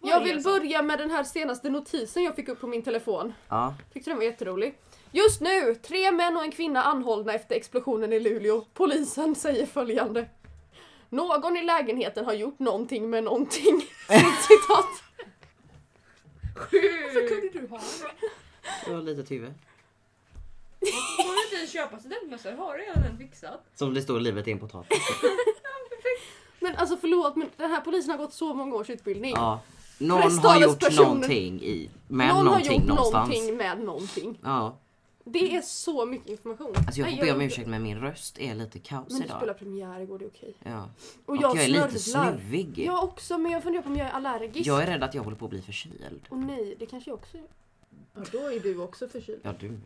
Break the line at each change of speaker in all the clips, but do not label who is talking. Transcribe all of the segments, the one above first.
vill
alltså.
Eliasson.
börja med den här senaste notisen jag fick upp på min telefon.
Ja.
Tyckte den var jätterolig. Just nu, tre män och en kvinna anhållna efter explosionen i Luleå. Polisen säger följande. Någon i lägenheten har gjort någonting med någonting. Citat.
Varför kunde du ha den?
Det var litet huvud.
Får du inte ens köpa studentmössor? Har du redan den fixad?
Som det står livet är en potatis.
Men alltså förlåt, men den här polisen har gått så många års utbildning.
Ja. Någon har
Stadens
gjort
personer.
någonting i. Med
Någon har
någonting
gjort
någonstans.
någonting med någonting.
Ja.
Det är så mycket information.
Alltså jag
Nej,
får be om ursäkt men min röst är lite kaos
Men du
idag.
spelar premiär igår, det är okej.
Ja.
Och
Och
jag,
jag, är lite
snörvlar.
snuvig.
Jag också, men jag funderar på om jag är allergisk.
Jag är rädd att jag håller på att bli förkyld.
Och nej, det kanske jag också är. Ja, då är du också förkyld.
Ja du med.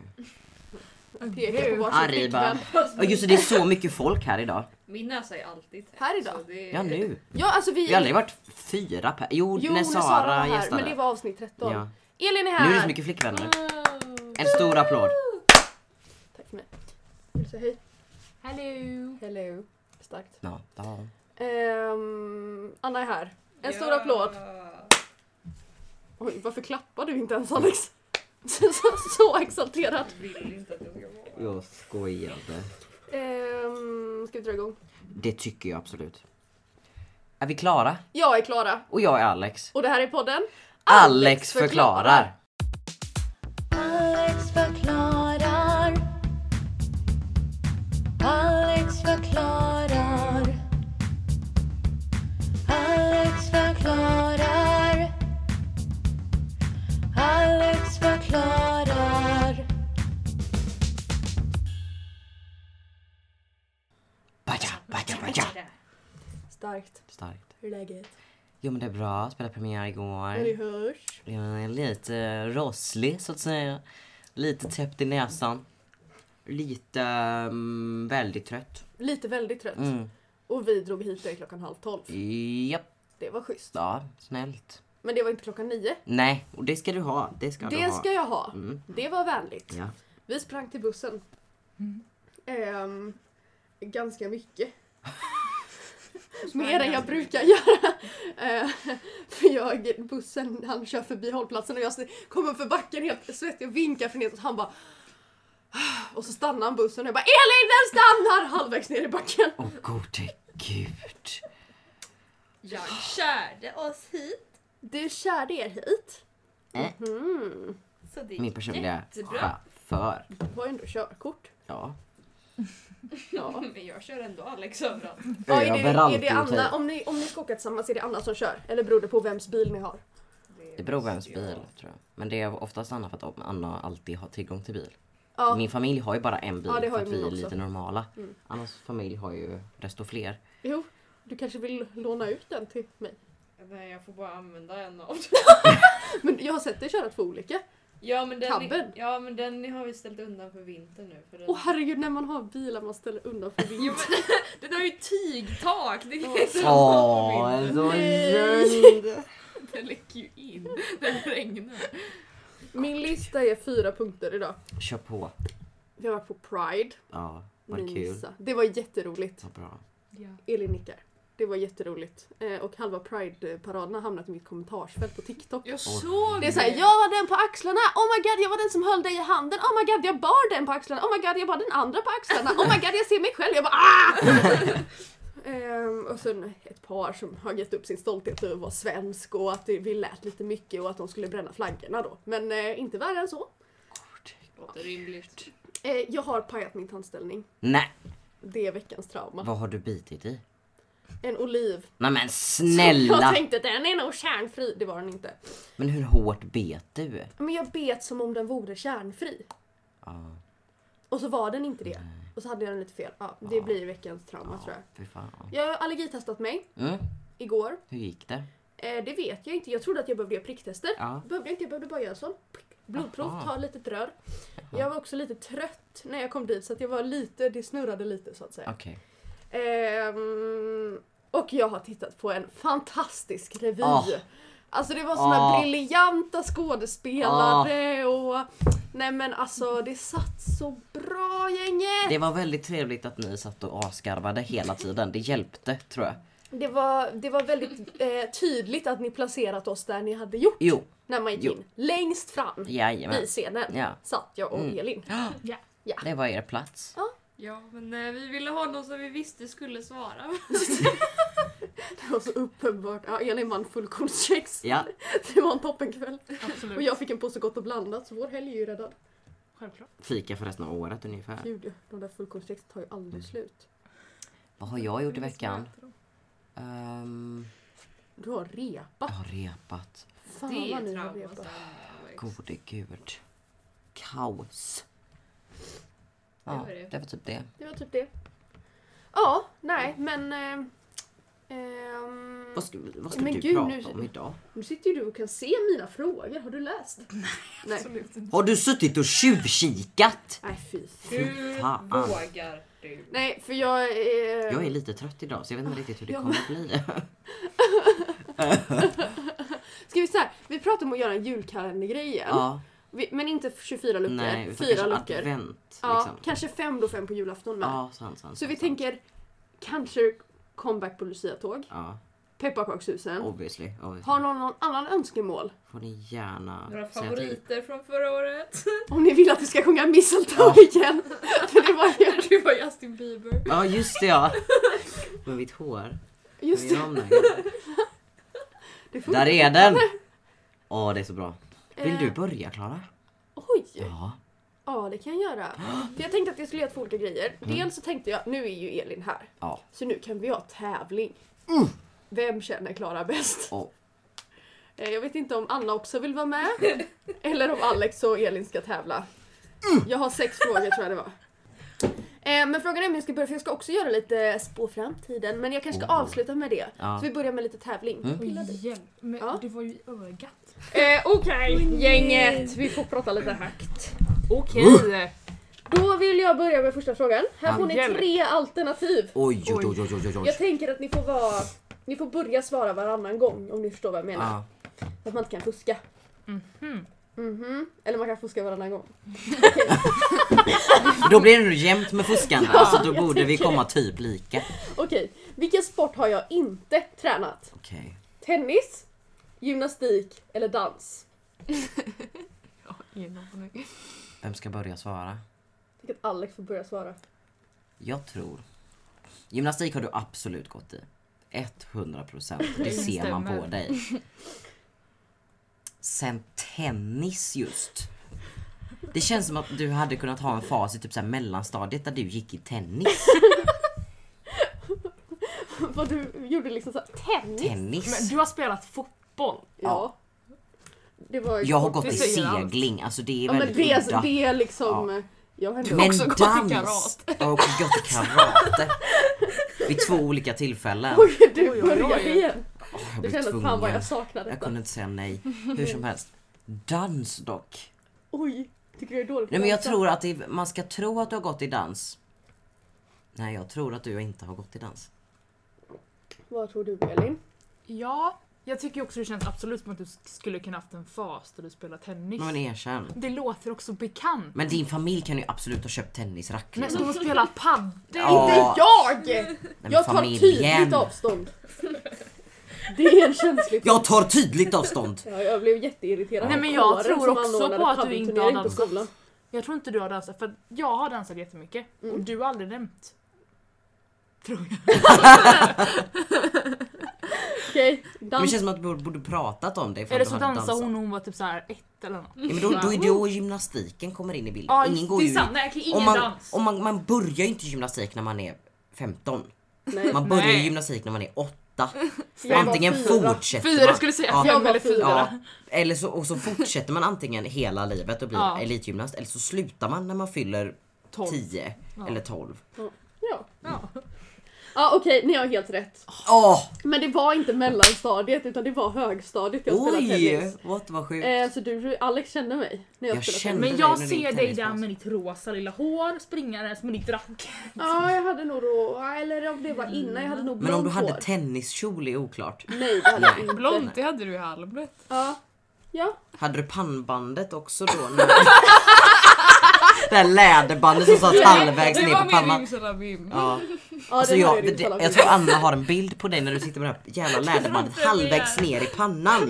Pekar på varsin
Arriba.
flickvän.
Ja just det, det är så mycket folk här idag.
Min näsa är alltid tät.
Här idag?
så det-
Ja nu.
Ja, alltså vi...
Vi har aldrig varit fyra per... Jo,
Jo,
när Sara,
var här,
gästade.
men det var avsnitt 13.
ja.
Elin är här!
Nu är det så mycket flickvänner.
Oh.
En stor applåd.
Tack för mig. Vill du säga hej?
Hello!
Hello. Starkt.
Ja, ja.
Ehm, Anna är här. En stor applåd. Oj, varför klappar du inte ens Alex? så, så exalterad.
Jag vill inte att jag ska vara här.
Jag skojade.
Ehm, ska vi dra igång?
Det tycker jag absolut. Är vi klara?
Jag är Klara
Och jag är Alex.
och det här är podden
Alex förklarar.
Alex förklarar. Alex förklarar. Alex förklarar. Alex förklarar.
Baja, baja, baja.
Där.
Starkt.
Starkt.
Hur är läget?
Jo men det är bra, spelade premiär
Ja, det
igår.
hörs.
Jag är lite rosslig så att säga. Lite täppt i näsan. Lite mm, väldigt trött.
Lite väldigt trött.
Mm.
Och vi drog hit dig klockan halv tolv.
Japp,
Det var schysst.
ja, snällt.
Men det var inte klockan nio.
Nej, och det ska du ha. Det ska du
Det
ha.
ska jag ha.
Mm.
Det var vänligt.
Ja.
Vi sprang till bussen. Mm. Ehm, ganska mycket. Mer än jag brukar göra. Eh, för jag, bussen, han kör förbi hållplatsen och jag kommer för backen helt svettig och vinkar för nedåt. Han bara... "Ah." Och så stannar han bussen och jag bara ELIN DEN STANNAR! Halvvägs ner i backen.
Åh gode gud.
Jag körde oss hit.
Du körde er hit.
Eh.
Mhm.
Så det
Min personliga
jättebra.
chaufför.
Du har ju ändå körkort.
Ja.
Ja.
Men jag kör ändå Alex överallt.
Ja, är det, är
Överallt i
det
hotell.
Anna, om, ni, om ni ska åka tillsammans är det Anna som kör? Eller beror det på vems bil ni har?
Det beror på vems bil tror jag. Men det är oftast Anna för att Anna alltid har tillgång till bil.
Ja.
Min familj har ju bara en bil
Ja, det har
för
ju
att
min
vi är
också. Mm.
lite normala. Annas familj har ju desto fler.
Jo, du kanske vill låna ut den till mig?
Nej jag får bara använda en av dem.
Men jag har sett dig köra två olika.
Ja men, den,
Tabben.
ja men den har vi ställt undan för vintern nu. För den,
Åh herregud, när man har bilar man ställer undan för
Jo,
vind.
men, den har ju tygtak! Det är så
Åh,
vintern.
så
Nej.
synd!
Den läcker ju in. Den regnar.
Min lista är fyra punkter idag.
Kör på.
Vi har varit på Pride.
Ja, var det
Ni
kul?
missade. Det var jätteroligt.
Vad bra.
Elin nickar. Det var jätteroligt. Eh, och halva Pride-paraden har hamnat i mitt kommentarsfält på TikTok.
Jag såg
Det är såhär, jag var den på axlarna, oh my god jag var den som höll dig i handen, oh my god jag bar den på axlarna, oh my god jag bar den andra på axlarna, oh my god jag ser mig själv, jag bara ah! Ehm, och sen ett par som har gett upp sin stolthet över att vara svensk och att det- vi lät lite mycket och att de skulle bränna flaggorna då. Men eh, inte värre än så.
Låter rimligt.
Eh, jag har pajat min tandställning.
Nej,
Det är veckans trauma.
vad har du bitit i?
En oliv.
Nej men
Så jag
snälla!
tänkte den är nog kärnfri. Det var den inte.
Men hur hårt bet du?
Men jag bet som om den vore kärnfri.
Ja,
Och så var den inte det. Och så hade jag den lite fel. Ja, det
Ja.
blir veckans trauma
ja
tror jag.
fy fan.
Jag har allergitestat mig
Mm,
igår.
hur gick det?
Eh, det vet jag inte. Jag trodde att jag behövde göra pricktester.
Ja.
Behövde jag inte, jag behövde bara göra sån. Prick. Blodprov,
Aha.
ta ett litet rör. Jag var också lite trött när jag kom dit så att jag var lite, det snurrade lite så att säga.
Okej.
Ehm, och jag har tittat på en fantastisk revy.
Ah.
Alltså det var såna här
Ah.
briljanta skådespelare och... Nej men alltså det satt så bra gänget!
Det var väldigt trevligt att ni satt och asgarvade hela tiden. Det hjälpte tror jag.
Det var, det var väldigt eh, tydligt att ni placerat oss där ni hade gjort
Jo,
när man gick
Jo.
in. Längst fram
jajamän.
vid scenen
Ja.
satt jag och
Mm.
Elin.
Det var er plats.
Ja, men eh, vi ville ha någon som vi visste skulle svara.
Det var så uppenbart. Ja, Elin vann fullkornskex.
Ja,
Det var en toppenkväll. Och
Absolut.
jag fick en påse Gott och blandat så vår helg är ju räddad.
Självklart.
fika för resten av året ungefär.
Gud, de där fullkornskexen tar ju
Mm.
aldrig slut.
Vad har jag gjort i veckan? Ehm,
Du har
jag
repa.
har repat.
Fan
Det
vad
är
ni har
trauma. alltså.
repa.
sen, Alex.
Gode gud. Kaos. Ja,
Det var det.
det var typ det.
Det var typ det. Ja, nej
Mm.
men... Eh, ehm,
Vad ska, vad ska
Men
du
gud,
prata
nu-
om idag?
nu sitter ju du och kan se mina frågor. Har du läst? Nej.
Absolut inte.
Har du suttit och tjuvkikat?
Nej fy.
Hur
Fan.
vågar du?
Nej för jag... Eh,
Jag är lite trött idag så jag vet inte riktigt hur det
jag
kommer att bli.
Ska vi så här, vi pratar om att göra en julkalendergrej igen.
Ja,
Vi, men inte 24 luckor,
nej. utan
fyra
kanske
luckor.
advent
ja,
liksom.
Kanske fem då fem på julafton med.
Ja, sant, sant.
Så vi
sant.
tänker kanske comeback på luciatåg,
Ja,
pepparkakshusen.
obviously. obviously.
Har någon någon annan önskemål?
Får ni gärna
Några
säga till.
favoriter från förra året?
Om ni vill att vi ska sjunga mistletoe igen. För det var ju...
Det var Justin Bieber.
Ja, just det ja. Med mitt hår.
Just
Vad
det.
gör de där?
det funkar.
Där är den! Åh, det är så bra. Vill
Eh,
du börja Klara?
Oj!
Ja.
Ja, det kan jag göra. För jag tänkte att jag skulle göra två olika grejer. Dels så tänkte jag, nu är ju Elin här.
Mm. Ja. Uh!
Så nu kan vi ha tävling. Vem känner Klara bäst?
Åh.
Eh, Jag vet inte om Anna också vill vara med. eller om Alex och Elin ska tävla.
Uh!
Jag har sex frågor tror jag det var. Eh, Men frågan är om jag ska börja, för jag ska också göra lite spå framtiden. Men jag kanske ska
Oh.
avsluta med det.
Ja.
Så vi börjar med lite tävling.
Mm.
Pilla dig.
Hjälp. Men
Ja.
det var ju i ögat.
Eh, Okej, gänget. Vi får prata lite högt.
Okej.
Uh!
Då vill jag börja med första frågan. Här får ni
Hjälp.
tre alternativ.
Oj, oj, oj, oj, oj, oj.
Jag tänker att ni får vara... Ni får börja svara varannan gång om ni förstår vad jag menar.
Ja.
Så att man inte kan fuska. Mhm. Eller man kan fuska varannan gång.
Då blir det nog jämnt med fuskarna,
Ja,
så då
jag
borde vi
tänker
komma typ lika.
Okej, vilken sport har jag inte tränat?
Okej.
Tennis, gymnastik eller dans?
Ingen aning.
Vem ska börja svara?
Jag tycker att Alex får börja svara.
Jag tror... Gymnastik har du absolut gått i. 100%. Det ser man på
Stämmer.
dig. Sen tennis just. Det känns som att du hade kunnat ha en fas i typ så här mellanstadiet där du gick i tennis.
Vad du gjorde liksom såhär, tennis?
Men
Tennis.
du har spelat fotboll.
Ja. Det var
Jag har gått i
Det säger allt.
segling, alltså det är
Ja men
väldigt
det,
udda.
det är liksom... Jag har
Du
ändå...
har också gått i
dans!
karate.
Jag har också gått i karate. Vid två olika tillfällen.
Oj, du
oj,
börjar
oj.
igen.
Åh, jag
Du
blev
kände att fan vad
tvungen.
jag saknade
Jag
detta.
kunde inte säga nej. Hur som helst. Dans dock.
Oj, tycker du jag är dålig på
Nej men jag
dansa?
tror att det, är- man ska tro att du har gått i dans. Nej jag tror att du inte har gått i dans.
Vad tror du Elin?
Ja, jag tycker också det känns absolut som att du skulle kunna haft en fas där du spelar tennis.
Men erkänn.
Det låter också bekant.
Men din familj kan ju absolut ha köpt tennisracket.
Men alltså,
liksom.
de spelar paddel.
Ja.
Inte jag!
men
Jag tar tydligt avstånd. Det är en känslig
Jag tar tydligt avstånd!
Ja, jag blev jätteirriterad
Nej,
på
men jag
kåren
tror
som
också
anordnade
på att du inte har
padelturnering på
dansat.
skolan.
Jag tror inte du har dansat för att jag har dansat jättemycket och du har aldrig nämnt. Tror jag.
Okej,
Men det
dans.
känns som att du borde pratat om det. ifall
Eller
du
så
hade
dansade
dansat.
hon när hon var typ så här ett eller något.
Ja, men då, då är det då gymnastiken kommer in i bilden.
Ja,
Ingen
just
går
det
ju
är sant. Nej, okej,
om
ingen
man,
dans.
om man, man börjar ju inte gymnastik när man är 15.
Nej,
Man börjar ju
Nej.
gymnastik när man är 8.
jag var
Antingen
fyra.
fortsätter
Fyra
man.
skulle jag säga,
Ja.
fem
Jag var
eller fyra.
Ja, eller så, och så fortsätter man antingen hela livet och blir
Ja.
elitgymnast eller så slutar man när man fyller
Tolv.
10 eller 12.
Ja,
Ja.
ja okej, ni har helt rätt.
Åh!
Men det var inte mellanstadiet utan det var högstadiet jag spelade
Oj!
tennis.
What, vad sjukt.
Eh, så du, Alex kände mig när jag,
Jag
spelade
kände-
tennis.
Men
det
jag
när din
ser dig
tennis
där
var-
med ditt rosa lilla hår springandes med ditt racket.
Ja, jag hade nog då, eller om det var innan, jag hade nog
Mm. Men om
blont
du hade
hår.
tenniskjol är oklart.
Nej, det hade jag inte.
det hade du i halvlet.
Ja. Ja,
Hade du pannbandet också då? När... Det här läderbandet som satt halvvägs
Det
ner
var
på pannan.
min simsalabim.
Ja.
Ja,
Alltså
det har
jag,
ju
det,
ditt
jag tror Anna har en bild på dig när du sitter med det här jävla läderbandet
framför mig
halvvägs
här.
ner i pannan.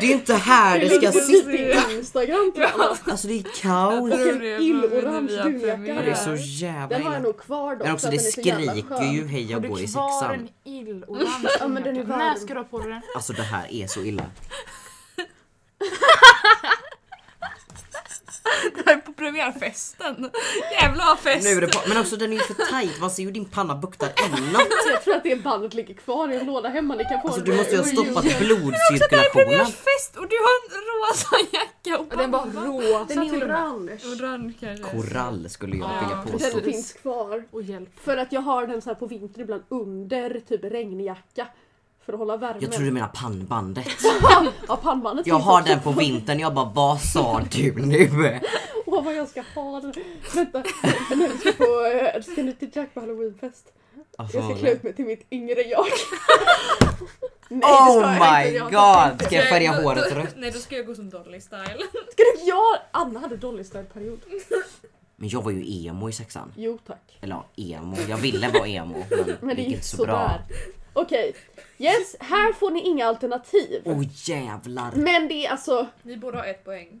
Det är ju inte här det ska sitta.
sitta. Instagram på alla.
Alltså det är kaos.
Jag tror
Vilken
det är
illorange
via
dunjacka.
premiär.
Ja, det är så jävla
Den har jag
illa.
nog kvar dock.
Men
för
också
att
det
den är så jävla
skriker
skön.
ju hej jag
du
går i
kvar
sexan.
en illorange
Ja, men den är
dunjacka?
varm.
När ska du ha på dig den?
Alltså det här är så illa.
Det här är på premiärfesten. Jävla vad fest.
Nu är det på, men också den är ju för tight, man ser ju din panna buktar inåt.
Alltså, Jag tror att det bandet ligger kvar i en låda hemma. Ni kan få
Alltså
en-
du måste ju ha
en-
stoppat
Det här är
blodcirkulationen.
premiärfest och du har en rosa jacka och
Och den var rosa
Den är
till och med.
orange.
Orange kanske.
Korall skulle jag vilja påstå.
Den finns kvar.
Och hjälp.
För att jag har den så här på vinter ibland under typ regnjacka. För att hålla värmen.
Jag tror du menar pannbandet.
Ja, pannbandet
Jag
finns
har
också.
den på vintern, jag bara vad sa du nu?
Åh vad jag ska ha den. Vänta, den här ska på, eh, ska ni till Jack på halloweenfest?
Alltså,
Jag ska klä ut mig till mitt yngre jag. Nej det
oh
ska jag
my
inte. Jag tänker
god!
inte.
Ska jag färga
då-
håret
då-
rött?
Nej då ska jag gå som Dolly style.
Ska du, jag, Anna hade Dolly Style-period.
Men jag var ju emo i sexan.
Jo tack.
Eller ja, emo, jag ville vara emo men
Men
det gick inte så bra.
sådär. Okej. Yes, här får ni inga alternativ.
Åh jävlar!
Men det är alltså,
Ni borde ha ett poäng.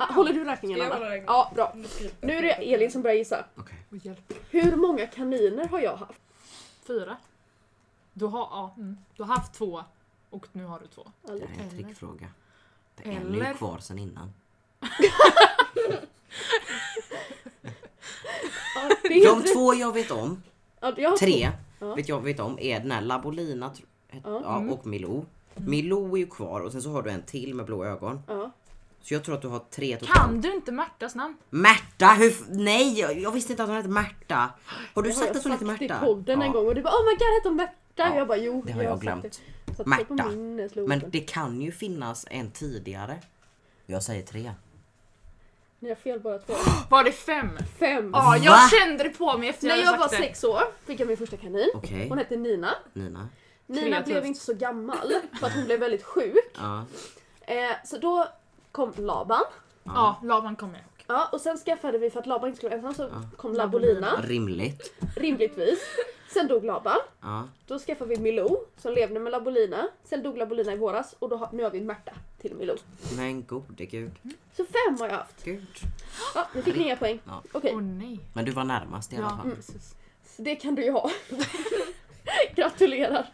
ah, håller du räkningen
Ska jag
Anna?
hålla räkningen?
Ja, bra. Nu är det Elin som börjar gissa.
Okej.
Och hjälp.
Hur många kaniner har jag haft?
Fyra. Du har, ja, mm. du har haft två och nu har du två.
Alltså,
Det här är en
Eller-
trickfråga. För en är ju
Eller-
kvar sen innan.
Ja, det är
De
helt
två jag vet om,
rätt. Ja, jag har
tre
Ja.
vet jag vet om är den här Labolina tr- het-
Ja. Mm.
ja, och Milou. Milou är ju kvar och sen så har du en till med blå ögon.
Ja.
Så jag tror att du har tre totalt.
Kan du inte Märtas namn?
Märta! Hur, f- nej! Jag jag visste inte att hon hette Märta. Har du
Det har
sagt
jag
att hon heter Märta?
i podden en
Ja.
gång och du bara oh my god hette hon Märta?
Ja,
jag bara jo.
det har jag
sagt
glömt.
det." Så att
Märta.
Märta. På minneslopen.
Men det kan ju finnas en tidigare. Jag säger tre.
Ni har fel bara två.
Var det fem?
Fem.
Ja,
Va?
jag kände det på mig efter
När
jag
jag
hade
var
sagt det.
sex år fick jag min första kanin.
Okej,
Hon hette Nina.
Nina.
Nina
Kreativt.
blev inte så gammal för att hon blev väldigt sjuk.
Ja.
Eh, så då kom Laban.
Ja, Laban kom med.
Ja, och sen skaffade vi för att Laban inte skulle vara ensam så
Ja.
kom Labolina.
Rimligt.
Rimligtvis. Sen dog Laban.
Ja.
Då skaffade vi Milou som levde med Labolina. Sen dog Labolina i våras och då har, nu har vi Märta till Milou.
Men gode gud.
Så fem har jag haft.
gud.
Ja, nu fick ni inga poäng.
Ja.
Okej.
Åh nej.
Men du var närmast i alla
Ja,
Mm.
Mm.
fall.
precis.
Så det kan du ju ha. Gratulerar.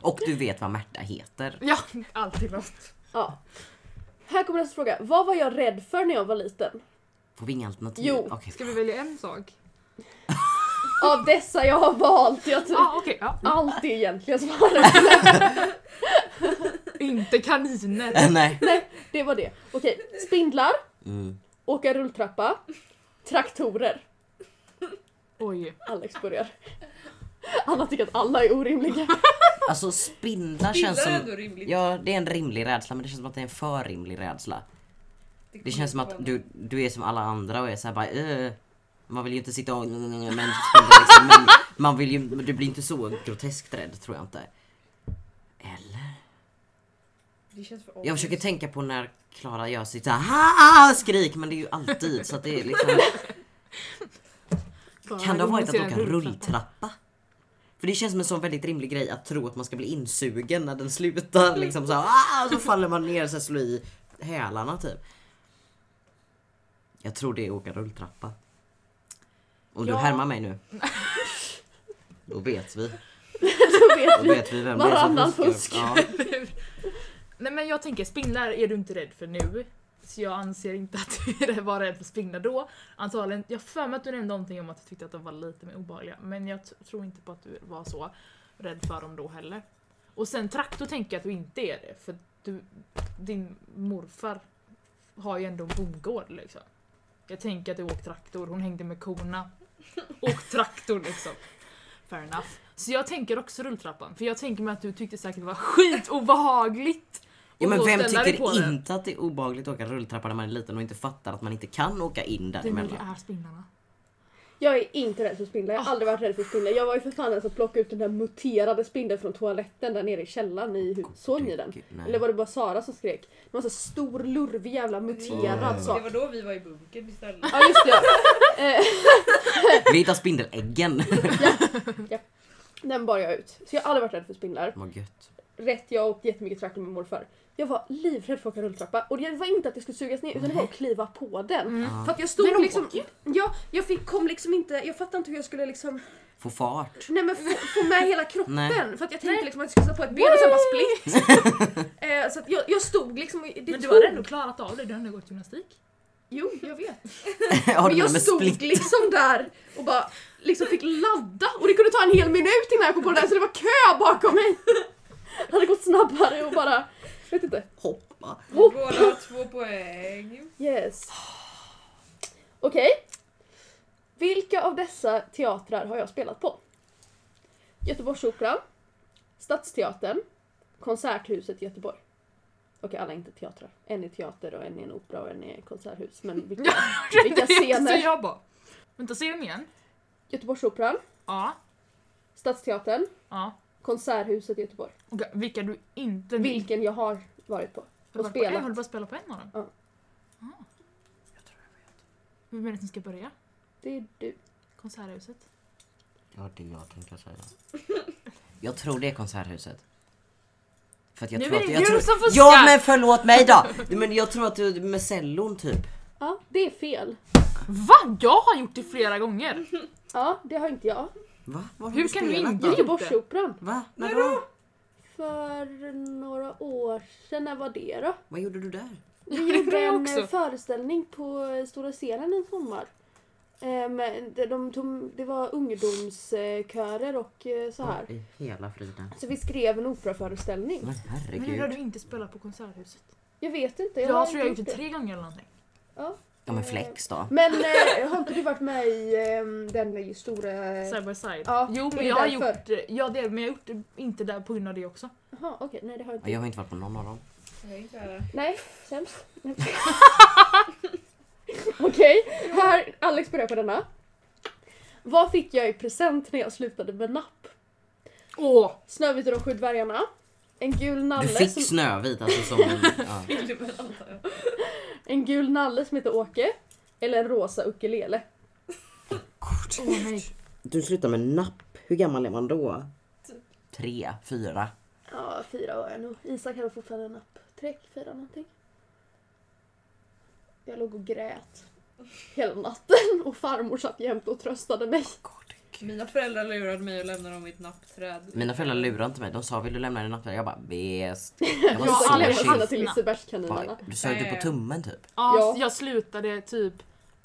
Och du vet vad Märta heter.
Ja, alltid glömt.
Ja. Här kommer nästa fråga. Vad var jag rädd för när jag var liten?
Får vi inga alternativ?
Jo.
Okej.
Ska vi välja en sak?
Av dessa jag har valt. Jag tror
Ja, okej. ja.
allt är egentligen svaret.
Inte kaniner.
Äh, nej.
Nej, det var det. Okej, spindlar,
Mm.
åka rulltrappa, traktorer.
Oj.
Alex börjar. Alla tycker att alla är orimliga.
Alltså spindlar
Spindlar
känns
är ändå
som...
rimligt.
Ja, det är en rimlig rädsla men det känns som att det är en för rimlig rädsla. Det känns som att du, du är som alla andra och är såhär bara "Äh, Man vill ju inte sitta och... Men, spindlar liksom, men man vill ju... Du blir inte så groteskt rädd tror jag inte. Eller?
Det känns för
Jag försöker tänka på när Klara gör sitt såhär skrik men det är ju alltid så att det är liksom Kan det ha varit att åka rulltrappa? För det känns som en sån väldigt rimlig grej att tro att man ska bli insugen när den slutar liksom så, här, "Ah!" så faller man ner så här, slår i hälarna typ Jag tror det är åka rulltrappa Om du
Ja.
härmar mig nu Då vet vi,
Så vet
då
vi.
vet vi vem det är som
Varannan
fuskar ja.
Nej men jag tänker spindlar är du inte rädd för nu. Så jag anser inte att du var rädd för spindlar då. Antagligen, jag har för mig att du nämnde någonting om att du tyckte att de var lite mer obehagliga. Men jag t- tror inte på att du var så rädd för dem då heller. Och sen traktor tänker jag att du inte är det. För du, din morfar har ju ändå en bondgård liksom. Jag tänker att du åkt traktor, hon hängde med korna. Åkt traktor liksom. Fair enough. Så jag tänker också rulltrappan, för jag tänker mig att du tyckte säkert det var skitobehagligt.
Ja,
att
men
gå och
vem
ställa dig
tycker
på den.
inte att det är obehagligt att åka rulltrappa när man är liten och inte fattar att man inte kan åka in
Det är nog
däremellan?
det är spinnarna.
Jag är inte rädd för spindlar. Jag har aldrig varit rädd för spindlar. Jag var ju för fan den som plockade ut den där muterade spindeln från toaletten där nere i källaren i huset. Såg ni den?
Gud, nej.
Eller var det bara Sara som skrek? Det var en sån stor lurvig jävla muterad
Mm.
Det
sak.
var då vi var i bunkern istället.
Ja just det ja. Eh,
Vi hittar spindeläggen.
Den bar jag ut. Så jag har aldrig varit rädd för spindlar.
Vad gött.
Rätt, jag har åkt jättemycket traktor med morfar. Jag var livrädd för att åka rulltrappa och det var inte att det skulle sugas ner utan det var att kliva på den.
Mm.
Ja.
För att jag stod
Men
liksom... Ja, jag fick, kom liksom inte... Jag fattade inte hur jag skulle liksom...
Få fart.
Nej men få, få med hela kroppen.
Nej.
För att jag tänkte liksom att jag skulle sätta på ett ben och sen bara split. eh, så att jag, jag stod liksom... och- Det
Men du
tog-
har ändå klarat av det, du har ändå gått gymnastik.
Jo, jag vet.
Har
Men
du
jag
med
stod
split?
liksom där och bara liksom fick ladda och det kunde ta en hel minut innan jag kom på det där så det var kö bakom mig. Det hade gått snabbare och bara... Vet inte.
Hoppa.
Båda har två poäng.
Yes. Okej. Vilka av dessa teatrar har jag spelat på? Göteborgsoperan, Stadsteatern, Konserthuset i Göteborg. Okej, alla är inte teatrar. En är teater och en är en opera och en är konserthus. Men vilka? Vilka
Det är inte
scener?
Så jag bara... Vänta, säg dem igen.
Göteborgsoperan,
Ja.
Stadsteatern,
Ja.
Konserthuset i Göteborg.
Okej, vilka du inte...
Vilken jag har varit på.
Har du
och
varit på en?
spelat.
Har du bara spelat på en av dem?
Ja.
Ah. Vem är det som ska börja?
Det är du.
Konserthuset?
Ja, det jag tänkte säga. Jag tror det är Konserthuset. För att jag
Nu
tror
är
att,
det
jag
du
tror...
som fuskar!
Ja men förlåt mig då! Men jag tror att du med cellon typ.
Ja, det är fel.
Va? Jag har gjort det flera gånger!
Ja, det har inte jag.
Va? Var har
Hur kan du
spelat
inte-
då?
Göteborgsoperan.
Va? När då?
För några år sedan, när var det då?
Vad gjorde du där?
Vi gjorde
jag
en
också.
eh, föreställning på eh, Stora scenen en sommar. Ehm, de, de tog, det var ungdomskörer och eh, så här.
Åh, I hela friden.
Så vi skrev en operaföreställning.
Men
Men hur har
herregud.
du inte spelat på Konserthuset?
Jag vet inte.
Jag,
har
tror jag har
inte
gjort det tre gånger eller någonting.
Ja.
Ja men flex då.
Men eh, har inte du varit med i ehm, den stora...
Side by side.
Eh, Ja,
jo
är det
men jag har
därför?
gjort det, ja, det, är det, men jag har gjort det inte där på grund av det också.
Jaha, okej. nej, det har jag
Ja,
inte.
Jag har inte varit på någon av dem.
Jag är inte här.
Nej, sämst. Okej, här. Alex börjar på denna. Vad fick jag i present när jag slutade med napp?
Åh!
Snövit och de sju dvärgarna. En gul
Du
nalle som...
fick Snövit alltså som en... Ja.
Filmen antar jag.
En gul nalle som heter Åke. Eller en rosa ukulele.
Åh nej.
Du slutar med napp. Hur gammal är man då? Tre, fyra.
Ja, fyra var jag nog. Isak hade fortfarande en napp. Tre, fyra någonting. Jag låg och grät hela natten och farmor satt jämt och tröstade mig.
Mina föräldrar lurade mig och lämnade dem i ett nappträd.
Mina föräldrar lurade inte mig. De sa vill du lämna din napp? Jag bara bäst. Jag
Jag Isak
var
alla-
så
lämnade alla
tjuv.
till Lisebergskaninerna.
Du sög du på tummen typ?
Ja,
Ja.
Jag slutade typ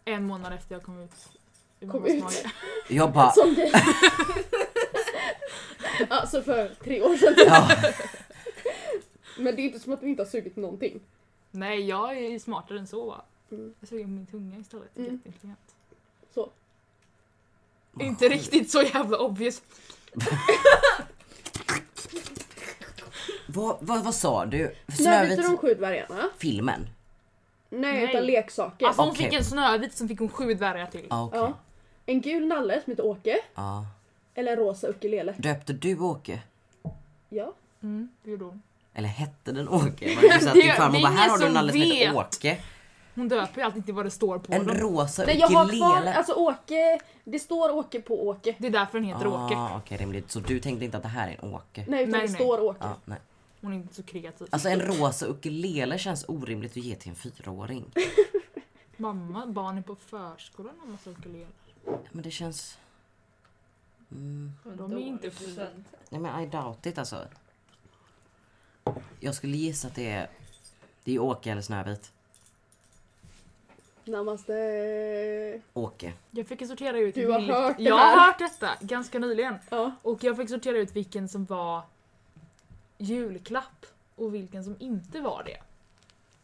en månad efter jag kom ut. ur
Kom
mammas
ut.
mage.
Jag bara...
Som grej. alltså för tre år sedan.
Ja.
Men det är inte som att vi inte har sugit någonting.
Nej jag är ju smartare än så va.
Mm.
Jag suger på min tunga istället.
Mm.
Jätteintelligent.
Så.
Ah.
Inte riktigt så jävla obvious.
Vad, vad, vad sa du?
Snövit och de
Snövit?
sju dvärgarna.
Filmen?
Nej,
Nej.
utan leksaker.
Alltså hon
Okej. Ah.
fick en snövit som fick hon sju dvärgar till.
Ja okej.
ja. En gul nalle som heter Åke.
Ja.
Eller en rosa ukulele.
Döpte du Åke?
Ja.
Mm, det gjorde hon.
Eller hette den Åke? Var det så att din
Det- det
farmor
är
bara här
ingen
har du en
som
nalle som heter
vet."
Åke?
Hon döper ju alltid till vad det står på
En
dem.
rosa
Nej jag har kvar,
ukulele.
alltså Åke, det står Åke på Åke.
Det är därför den heter Åke.
Ah, okej rimligt. Så du tänkte inte att det här är en Åke?
Nej utan
Nej,
det
nej.
står Åke.
Ja, nej.
Hon är inte så kreativ.
Alltså en rosa ukulele känns orimligt att ge till en fyraåring.
Mamma, barnen på förskolan har massa ukulele.
Men det känns...
De är inte fina.
Nej men I doubt it alltså. Jag skulle gissa att det är... Det är Åke eller Snövit.
Namaste.
Åke.
Jag fick sortera ut...
Du har
vilk-
hört det
Jag
här.
har hört detta ganska nyligen.
Ja.
Och jag fick sortera ut vilken som var julklapp och vilken som inte var det.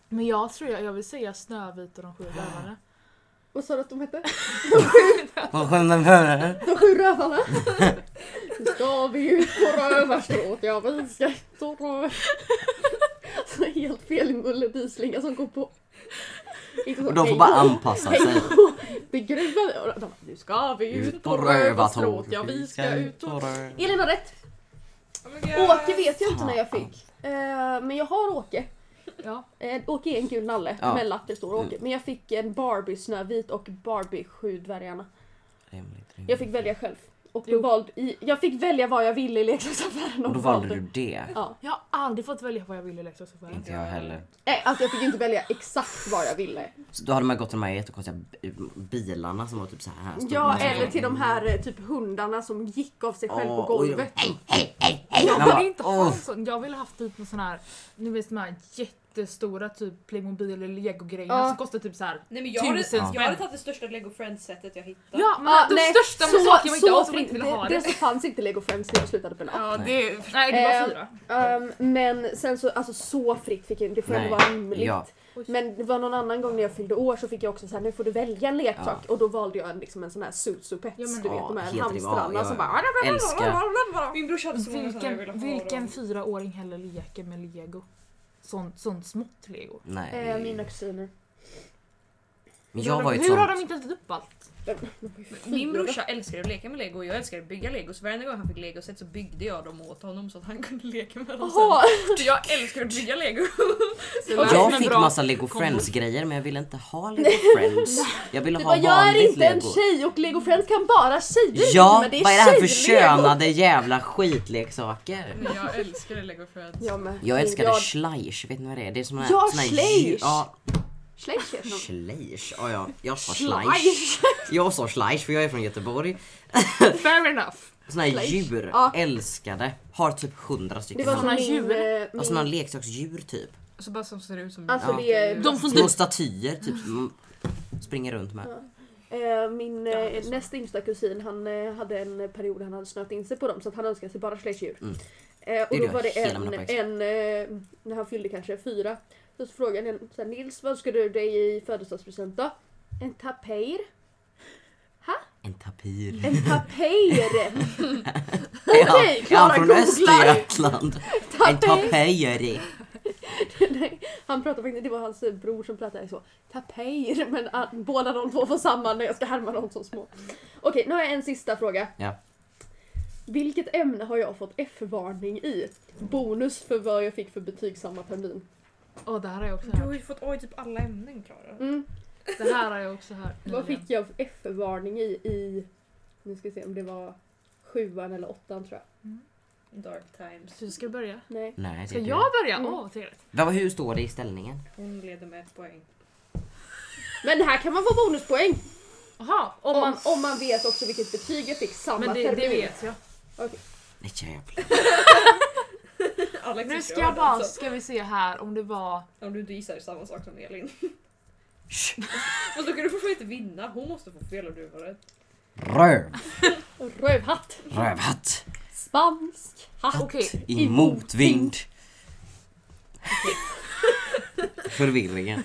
Men jag tror jag, jag vill säga Snövit och de sju dvärgarna.
Vad sa du att de hette?
Vad skämtar för det?
De sju rövarna. Nu ska vi ut på rövarstråt, jag viskar så röv. Så helt fel i Mulle Byslinga som går på. Inte så,
Och de får
hej
bara
då.
anpassa sig.
Det gruvade och de bara, nu ska vi ut och röva
röva
stråt,
tåg.
ja vi ska ut och...
röva.
Elin har rätt!
Oh my god.
Åke vet jag inte när jag fick. Eh, men jag har Åke.
Ja.
Eh, Åke är en gul nalle,
Ja. Mm.
men latte står Åke. Men jag fick en Barbie Snövit och Barbie Sju dvärgarna.
Rimligt, rimligt.
Jag fick välja själv. Och
Jo.
blev vald i, jag fick välja vad jag ville i leksaksaffären.
Och då valde du det.
Ja.
Jag har aldrig fått välja vad jag vill i leksaksaffären.
Inte jag heller.
Nej, alltså jag fick inte välja exakt vad jag ville.
Så då hade man gått till de här jättekonstiga b- bilarna som var typ så här stora.
Ja, eller till de här eh, typ hundarna som gick av sig själv
Ja,
på
och jag-
golvet.
Man
Jag
bara,
vill inte ha
"Åh,
en sån. Jag vill ha haft typ någon sån här, ni vet de här jättestora typ Playmobil eller Lego-grejerna
Ja.
som kostar typ så här.
Nej, men jag, hade,
Tusen
jag
spänn.
hade tagit det största Lego Friends-setet jag hittade.
Ja men
Ja,
de
Ah, nej,
största
så-
sakerna man inte
så
har som
fin-
man inte vill
det,
ha
det.
det.
så fanns inte Lego Friends när jag slutade på en app.
Ja, det är...
Nej det
Eh,
var fyra.
Ehm, men sen så, alltså så fritt fick jag inte, det får ändå
Nej.
vara rimligt.
Ja.
Men det var någon annan gång när jag fyllde år så fick jag också så här, nu får du välja en leksak. Och då valde jag en, liksom en sån här Suzu Pets,
Ja, men-
du vet
Ja,
de här
helt rival,
hamstrarna
ja,
som
ja.
bara...
Älskar.
Min brorsa hade Alltså, så många sådana jag ville ha. av
Vilken, vilken
dem.
fyraåring heller leker med lego? Sånt, sånt smått lego.
Nej.
Eh, mina kusiner.
Men
Hur har
jag var
de-
ju ett
Hur har de
sånt.
inte ätit upp allt?
Min brorsa älskade att leka med lego och jag älskade att bygga lego så varenda gång han fick legoset så byggde jag dem åt honom så att han kunde leka med dem sen.
Jaha!
Så jag älskar att bygga lego.
Jag
Men
fick
bra
massa Lego
kombo.
Friends grejer men jag ville inte ha Lego Friends. Jag ville
Du
ha
bara, jag
vanligt
är inte en
Lego.
tjej och Lego Friends kan bara tjejer
Ja,
men
vad
det
är det här för
tjej-Lego.
könade jävla skitleksaker?
Men jag älskade lego friends.
Jag med.
Jag älskade
Jag-
Schleich, vet ni vad det är? Det är som en
Ja,
sån här
Schleich.
djur- Ja,
Schleich heter de.
Schleich. Ja, ja, jag sa Schleich.
Schleich.
Jag sa Schleich för jag är från Göteborg.
Fair enough.
Såna här
Schleich.
djur,
Ja.
älskade. Har typ hundra
Det
stycken.
var
hemma.
som
Såna
min...
djur.
eh, min...
Alltså någon leksaksdjur typ.
Så bara som ser ut som
Alltså,
Ja.
det är-
De får
Små
inte...
statyer typ som man springer runt med.
Eh, Min
Ja, det
eh,
är så.
näst yngsta kusin han eh, hade en period han hade snöat in sig på dem så att han önskade sig bara släktdjur.
Mm.
Eh,
Det
och
är
då
det
var det
hela
en,
mina uppväxt.
en eh, när han fyllde kanske fyra, så frågade han så här, Nils vad ska du dig i födelsedagspresent då? En tapir.
En tapir.
En tapir!
Ja, jag
Klara
är från
googlar.
Östergötland. En
tapir!
tapejeri.
Nej, han pratade faktiskt, det var hans bror som pratade så. Tapir! Men ah, båda de två var samma när jag ska härma dem som små. Okej, nu har jag en sista fråga.
Ja.
Vilket ämne har jag fått F-varning i? Bonus för vad jag fick för betyg samma termin.
Åh det här har jag också
Du har
hört.
ju fått oj typ alla ämnen Klara.
Mm.
Det här har jag också hört.
Vad fick
nyligen.
jag för F-varning i i... Nu ska vi se om det var sjuan eller åttan tror jag.
Dark times.
Du ska börja.
Nej.
Nej,
Ska
det är
jag börja? Åh
Mm.
vad trevligt.
du. Vad- Hur står det i ställningen?
Hon leder med ett poäng.
Men här kan man få bonuspoäng!
Jaha, om
Om
man...
man, om man vet också vilket betyg jag fick samma
Men det,
termin.
det vet jag.
Nej, jävlar.
Alex
Nu
inte
ska jag
den,
bara,
så-
ska vi se här om det var...
Om du inte gissar samma sak som Elin.
Shh.
Fast då kan du fortfarande inte vinna. Hon måste få fel om du var rätt.
Röv.
Rövhatt!
Rövhatt.
Spansk hatt!
Ah, Okej,
I motvind. Förvirringen.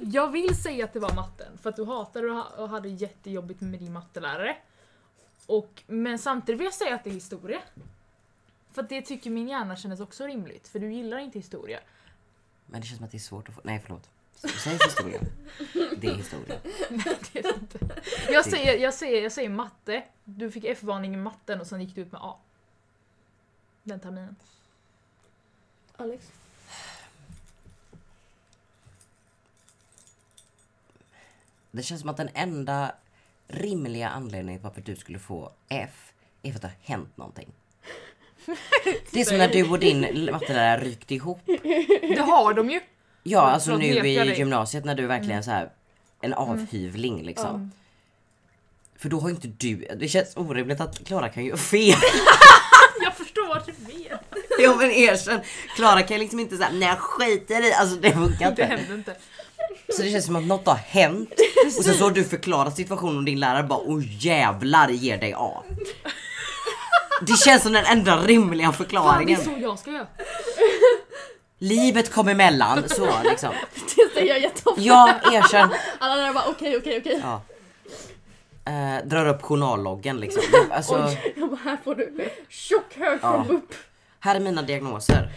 jag vill säga att det var matten för att du hatade och ha- och hade jättejobbigt med din mattelärare. Och, men samtidigt vill jag säga att det är historia. För att det tycker min hjärna kändes också rimligt för du gillar inte historia.
Men det känns som att det är svårt att få... Nej, förlåt. Säg historia. Det är historia.
Det är det inte. jag, säger, jag, säger, jag säger matte, du fick F-varning i matten och sen gick du ut med A. Den terminen.
Alex?
Det känns som att den enda rimliga anledningen varför du skulle få F är för att det har hänt någonting. Det är som när du och din mattelärare ryckte ihop.
Det har de ju!
Ja, alltså
Förlåt,
nu
nekar
i
dig. Mm.
gymnasiet när du verkligen så här en avhyvling liksom. För då har ju inte du, det känns orimligt att Klara kan ju fel.
Jag förstår vad du menar.
ja men erkänn, Klara kan ju liksom inte säga nej jag skiter i, alltså det funkar
Det
inte.
hände inte.
Så det känns som att något har hänt och sen så har du förklarat situationen och din lärare bara åh jävlar ger dig A. Det känns som den enda rimliga
Fan, det är
förklaringen.
så jag ska göra.
Livet kom emellan, så liksom.
Det säger jag jätteofta.
Ja, erkänn.
Alla där bara okej, okej, okej.
Ja. Eh, drar upp journalloggen liksom. Det- Alltså,
Jag bara här får du tjock hög
Ja.
från BUP.
här är mina diagnoser.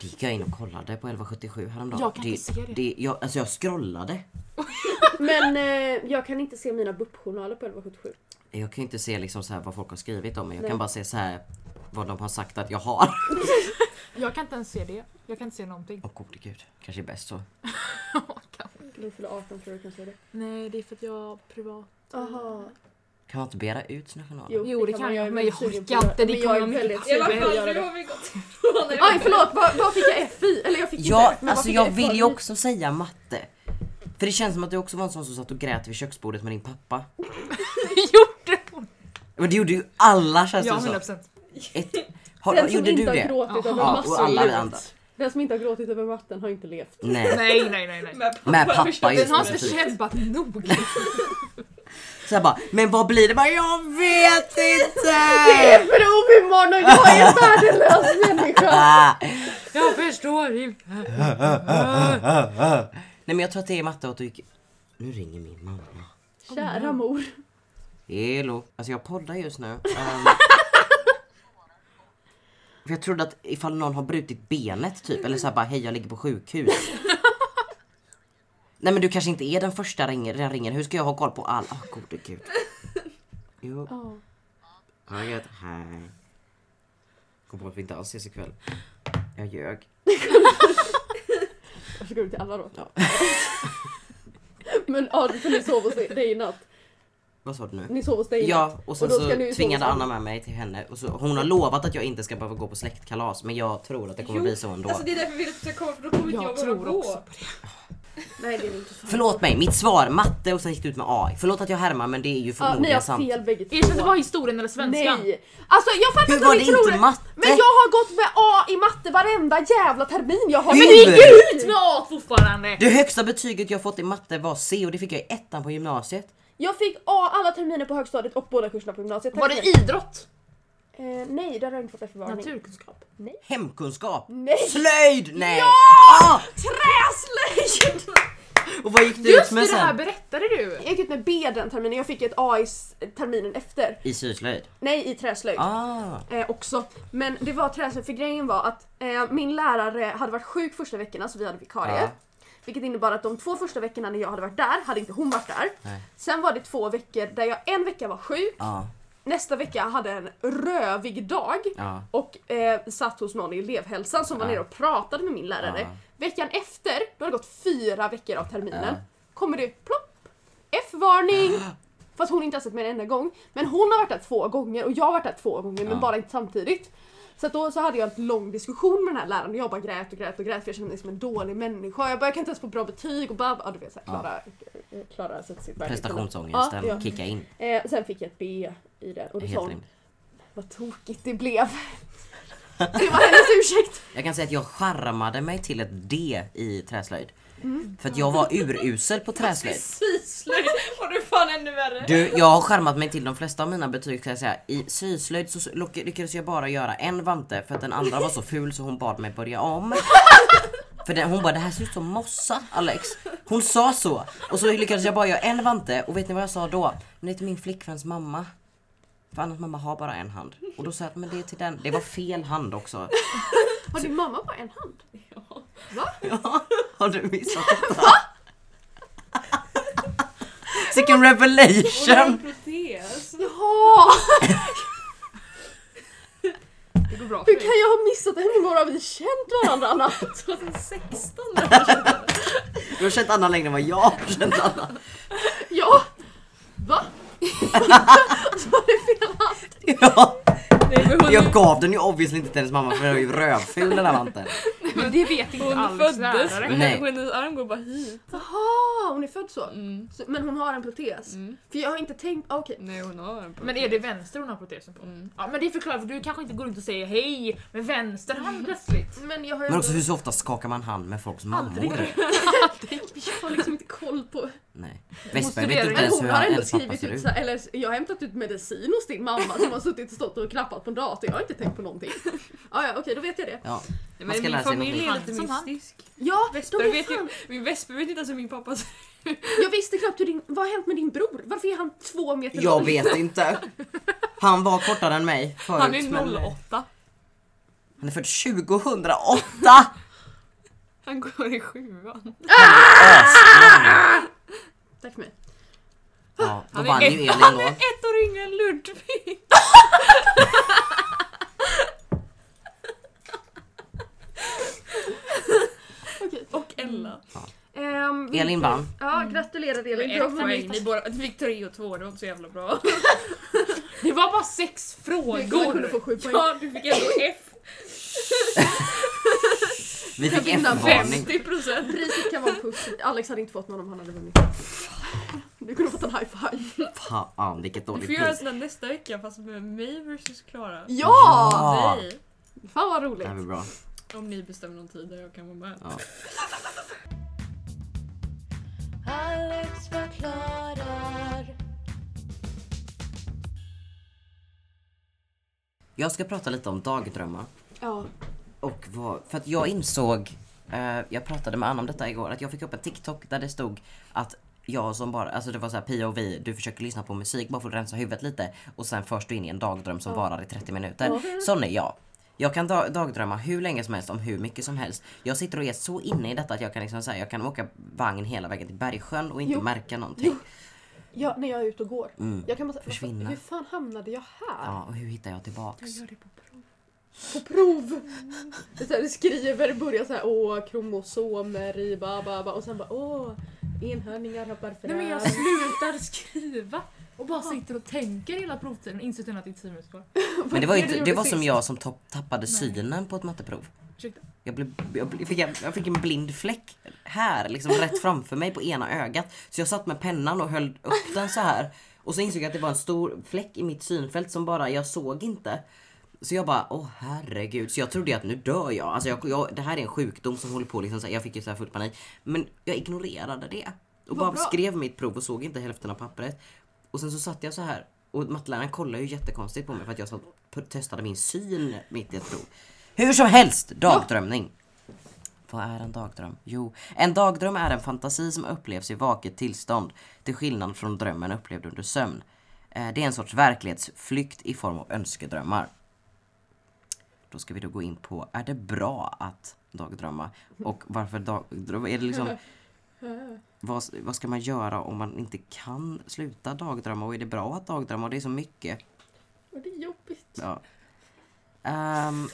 Det gick jag in och kollade på 1177 häromdagen.
Jag kan
det,
inte se det.
jag, alltså jag scrollade.
Men eh, jag kan inte se mina BUP-journaler på 1177.
Jag kan ju inte se liksom så här vad folk har skrivit om mig. Jag
Nej.
kan bara se så här vad de har sagt att jag har.
Jag kan inte ens se det. Jag kan inte se någonting.
Åh gode gud, kanske är bäst så.
Du fyller 18 tror jag kan se det.
Nej, det är för att jag privat. eh,
Aha.
Kan man inte begära ut sina journaler?
Jo, det kan
man.
jag, men
väldigt
jag
sugen
orkar
på
inte. Det
Men
kommer
jag är
vara mycket
väldigt
I
sugen på att
alla fall,
göra
nu
det.
har vi gått ifrån det.
Aj förlåt, vad, vad fick jag F i? Eller jag fick inte
Ja,
F, men vad
alltså
fick
jag
F
vill
i?
ju också säga matte. För det känns som att du också var en sån som satt och grät vid köksbordet med din pappa.
Gjorde hon?
Men det gjorde ju alla känns
Ja,
det som.
100%.
Ett, har,
Den som
gjorde du
inte har
det?
gråtit över
Ja, och alla vi andra.
vatten. Den som inte har gråtit över vatten har inte levt.
Nej.
Nej, nej, nej, nej.
Med
Med pappa
förstås.
just
Den har
nu.
inte
typ.
kämpat nog.
Så jag bara, men vad blir det? Bara, jag vet
Det är
inte!
prov imorgon och jag är värdelös människa!
Ah.
Jag förstår inte.
Nej men jag tror att det är matte och att du gick... Nu ringer min mamma.
Kära mor.
Hello. Alltså jag poddar just nu. Ehm. För jag trodde att ifall någon har brutit benet typ, eller såhär bara hej jag ligger på sjukhus. Nej men du kanske inte är den första ringer, den ringer. hur ska jag ha koll på all... Åh gode gud. Jo.
Ja.
Ja, jag vet. Hej. Kom på att vi inte alls ses ikväll. Jag ljög.
Och så går du till alla då.
Ja.
Men ja, för ni sov hos dig i natt.
Vad sa du nu?
Ni sov hos dig i natt.
Ja, och sen
Och då ska ni ju
så tvingade
sova
Anna med mig till henne. Och så, hon har lovat att jag inte ska behöva gå på släktkalas men jag tror att det kommer
Jo,
bli så ändå.
Alltså det är därför vi vill att du ska komma för då kommer inte
Jag
jag våga
tror också
gå.
på det.
Nej det är inte så.
Förlåt mig, mitt svar matte och sen gick det ut med AI. Förlåt att jag härmar men det är ju
Ja, ni
förmodligen
har
sant.
fel bägge två.
Erkänn, det var historien eller svenskan.
Nej! Alltså jag fattar
Hur
inte
var
vad ni
det
tror.
inte matte?
Men jag har gått med A i matte varenda jävla termin jag har
Hur?
Ut med A fortfarande!
Det högsta betyget jag fått i matte var C och det fick jag i ettan på gymnasiet.
Jag fick A alla terminer på högstadiet och båda kurserna på gymnasiet. Tack
Var
så
det
mycket.
idrott?
Eh, nej, där har jag inte fått F-varning.
Naturkunskap?
Hemkunskap!
Nej.
Slöjd! Nej! Ja!
Träslöjd!
Och vad gick du ut
Just
med
det, det här
sen?
berättade du!
Jag gick ut med B den terminen, jag fick ett A i s- terminen efter.
I syslöjd.
Nej, i träslöjd.
Ah.
Eh, också. Men det var träslöjd för grejen var att eh, min lärare hade varit sjuk första veckorna så vi hade vikarie.
Ja.
Vilket innebar att de två första veckorna när jag hade varit där hade inte hon varit där.
Nej.
Sen var det två veckor där jag en vecka var sjuk,
Ja.
nästa vecka hade en rövig dag
Ja.
och eh, satt hos någon i elevhälsan som var
Ja.
nere och pratade med min lärare.
Ja.
Veckan efter, då har det gått fyra veckor av terminen,
Ja.
kommer det plopp! F-varning! Fast hon inte har sett mig en enda gång. Men hon har varit där två gånger och jag har varit där två gånger men
Ja.
bara inte samtidigt. Så att då så hade jag en lång diskussion med den här läraren och jag bara grät och grät och grät för jag kände mig som en dålig människa. Jag bara jag kan inte ens få bra betyg och bara, ja du vet såhär Klara, Klara sätter sitt värde.
Prestationsångesten
Ja, ja.
kicka in.
Eh, sen fick jag ett B i det och då sa
Helt
hon
rimligt.
vad tokigt det blev. Det var hennes ursäkt.
Jag kan säga att jag charmade mig till ett D i träslöjd. För att jag var urusel på träslöjd.
Syslöjd och du är fan ännu värre.
Du, jag har skärmat mig till de flesta av mina betyg kan jag säga. I syslöjd så lock- lyckades jag bara göra en vante för att den andra var så ful så hon bad mig börja om. För den, hon bara det här ser ut som mossa Alex. Hon sa så. Och så lyckades jag bara göra en vante och vet ni vad jag sa då? Men det är till min flickväns mamma. För annars mamma har bara en hand. Och då sa jag att men det är till den. Det var fel hand också.
Har din mamma bara en hand?
Ja, har du missat detta? Second revelation!
protes.
Jaha!
Det går bra för
Hur kan
dig.
jag ha missat det? Hur många år har vi känt varandra Anna?
2016
Du har känt Anna längre än vad jag har känt Anna.
Ja! Va? Var det fel hand?
Ja,
Nej men hon,
jag gav den ju obviously inte till hennes mamma för den var ju rövful den här vanten.
Men det vet inte
hon
alls
föddes
lärare.
men
Nej.
hennes arm går bara hit.
Jaha, Ah, hon är född så?
Mm.
Så- Men hon har en protes?
Mm.
För jag har inte tänkt, ah, okej.
Nej hon har en protes.
Men är det vänster hon har protesen på?
Mm.
Ja men det förklarar för du kanske inte går runt och säger hej med vänster
Mm.
hand plötsligt.
Men jag har ju
Men också hur så ofta skakar man hand med folks mammor?
jag har liksom inte koll på...
Nej. Vesper
studera-
vet inte
Men
Men
ens
hon
hur
har ändå
hennes pappa
skrivit
ser
ut,
ut.
så här, eller jag har hämtat ut medicin hos din mamma som har suttit och stått och klappat på en dator. Jag har inte tänkt på någonting. Ah, ja, okej då vet jag det.
Ja.
Nej,
Man ska
men
lära
min
sig
familj är
någonting.
lite
Som han.
mystisk.
Ja, de
Vesper
är
vet
fan,
ju, min vesper vet inte ens hur min pappa ser
jag visste knappt hur din, vad har hänt med din bror? Varför är han två meter
Jag
lång?
vet inte. Han var kortare än mig förut.
Han är
men-
08.
Han är född 2008!
Han går i sjuan.
Ösnamn.
Tack för mig.
Ja, då
Han är
vann ju
ett-
Elin då.
Ett år yngre än Ludvig.
Okej.
Och
Mm.
Ella.
Ehm, vi-
Elin vann.
Ja, gratulerar
Det var
Elin. Bra
ett poäng. Ni
jobbat.
båda ni fick tre och två, det var inte så jävla bra.
Det var bara sex
Du kunde
frågor!
få sju poäng.
Ja, du fick ändå F.
Vi fick
Jag vinner
F-varning.
50%.
Priset kan vara en puss. Alex hade inte fått någon om han hade vunnit. Du kunde fått en high five.
Fan vilket
Du
dåligt
får göra en
pris.
sån där nästa vecka fast med mig versus Klara.
Ja!
Ja. Mm.
Nej.
Fan vad
Det
roligt.
här blir bra.
Om ni bestämmer någon tid där jag kan vara med.
Ja.
Alex förklarar.
Jag ska prata lite om dagdrömmar.
Ja.
Och vad, för att jag insåg, eh, jag pratade med Anna om detta igår, att jag fick upp en TikTok där det stod att jag som bara, alltså det var så här POV, du försöker lyssna på musik bara för att rensa huvudet lite och sen förs du in i en dagdröm som varar i 30 minuter. Sån är jag. Jag kan da- dagdrömma hur länge som helst om hur mycket som helst. Jag sitter och är så inne i detta att jag kan liksom säga jag kan åka vagn hela vägen till Bergsjön och inte
Jo.
märka någonting.
ja, när jag är ute och går.
Mm.
Jag kan bara säga,
Försvinna.
hur fan hamnade jag här?
Ja, och hur hittar jag tillbaks?
På prov! Det är så här, du skriver, börjar såhär åh kromosomer i ba ba ba och sen bara åh enhörningar hoppar fram.
Nej men jag slutar skriva och bara sitter och tänker hela provtiden och inser sen att det är 10 minuter kvar.
Men det var,
Vad
ju
är det
inte,
du
det
gjorde
var som
sist?
jag som topp- tappade synen på ett matteprov.
Ursäkta?
Jag, blev, jag, blev, fick, en- jag fick en blind fläck här, liksom rätt framför mig på ena ögat. Så jag satt med pennan och höll upp den så här. Och så insåg jag att det var en stor fläck i mitt synfält som bara jag såg inte. Så jag bara, åh herregud. Så jag trodde ju att nu dör jag. Alltså jag, jag, det här är en sjukdom som håller på liksom så här, Jag fick ju så här full panik. Men jag ignorerade det. Och bara
bra.
skrev mitt prov och såg inte hälften av pappret. Och sen så satt jag så här. Och matteläraren kollade ju jättekonstigt på mig för att jag satt, testade min syn mitt i ett prov. Hur som helst, dagdrömning. Vad är en dagdröm? Jo, en dagdröm är en fantasi som upplevs i vaket tillstånd till skillnad från drömmen upplevd under sömn. Eh, Det är en sorts verklighetsflykt i form av önskedrömmar. Då ska vi då gå in på, är det bra att dagdrömma? Och varför dagdrömma? Är det liksom,
Äh,
vad, vad ska man göra om man inte kan sluta dagdrömma? Och är det bra att dagdrömma? Och det är så mycket.
Och det är jobbigt.
Ja. Ehm,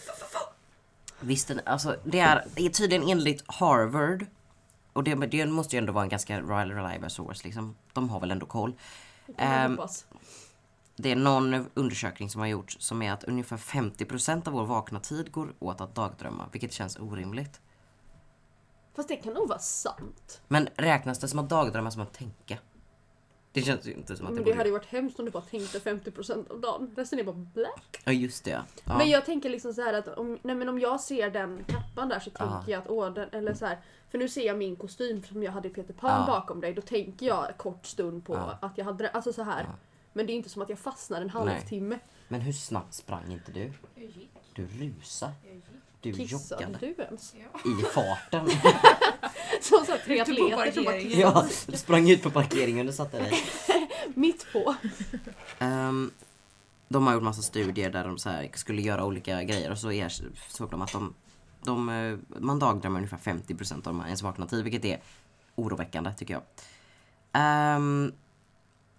visst, den- alltså det är, det är tydligen enligt Harvard. Och det, det måste ju ändå vara en ganska reliable source liksom. De har väl ändå koll.
Det kan man
Ehm,
hoppas.
Det är någon undersökning som har gjorts som är att ungefär 50% av vår vakna tid går åt att dagdrömma, vilket känns orimligt.
Fast det kan nog vara sant.
Men räknas det som att dagdrömma som att tänka? Det känns ju inte som att
Men
det
Mm, det
borde...
hade ju varit hemskt om du bara tänkte 50% av dagen. Resten är bara blä.
Ja just det ja. ja.
Men jag tänker liksom så här att om, nej men om jag ser den kappan där så tänker
Ja.
jag att åh, den, eller så här, för nu ser jag min kostym som jag hade i Peter Pan
Ja.
bakom dig, då tänker jag en kort stund på
Ja.
att jag hade det, alltså så här.
Ja.
Men det är inte som att jag fastnar en
Nej.
halvtimme.
Men hur snabbt sprang inte du? Du rusade. Du
Kissade
joggade.
du ens?
I farten.
Som så här tre
Ute på
atleter som bara
parkeringen.
kissade
Ja, du sprang ut på parkeringen och satte dig.
mitt på.
Ehm, de har gjort massa studier där de så här skulle göra olika grejer och så er, såg de att de, de, eh, man dagdrömmer ungefär 50% av de här ens vakna tid vilket är oroväckande tycker jag. Ehm,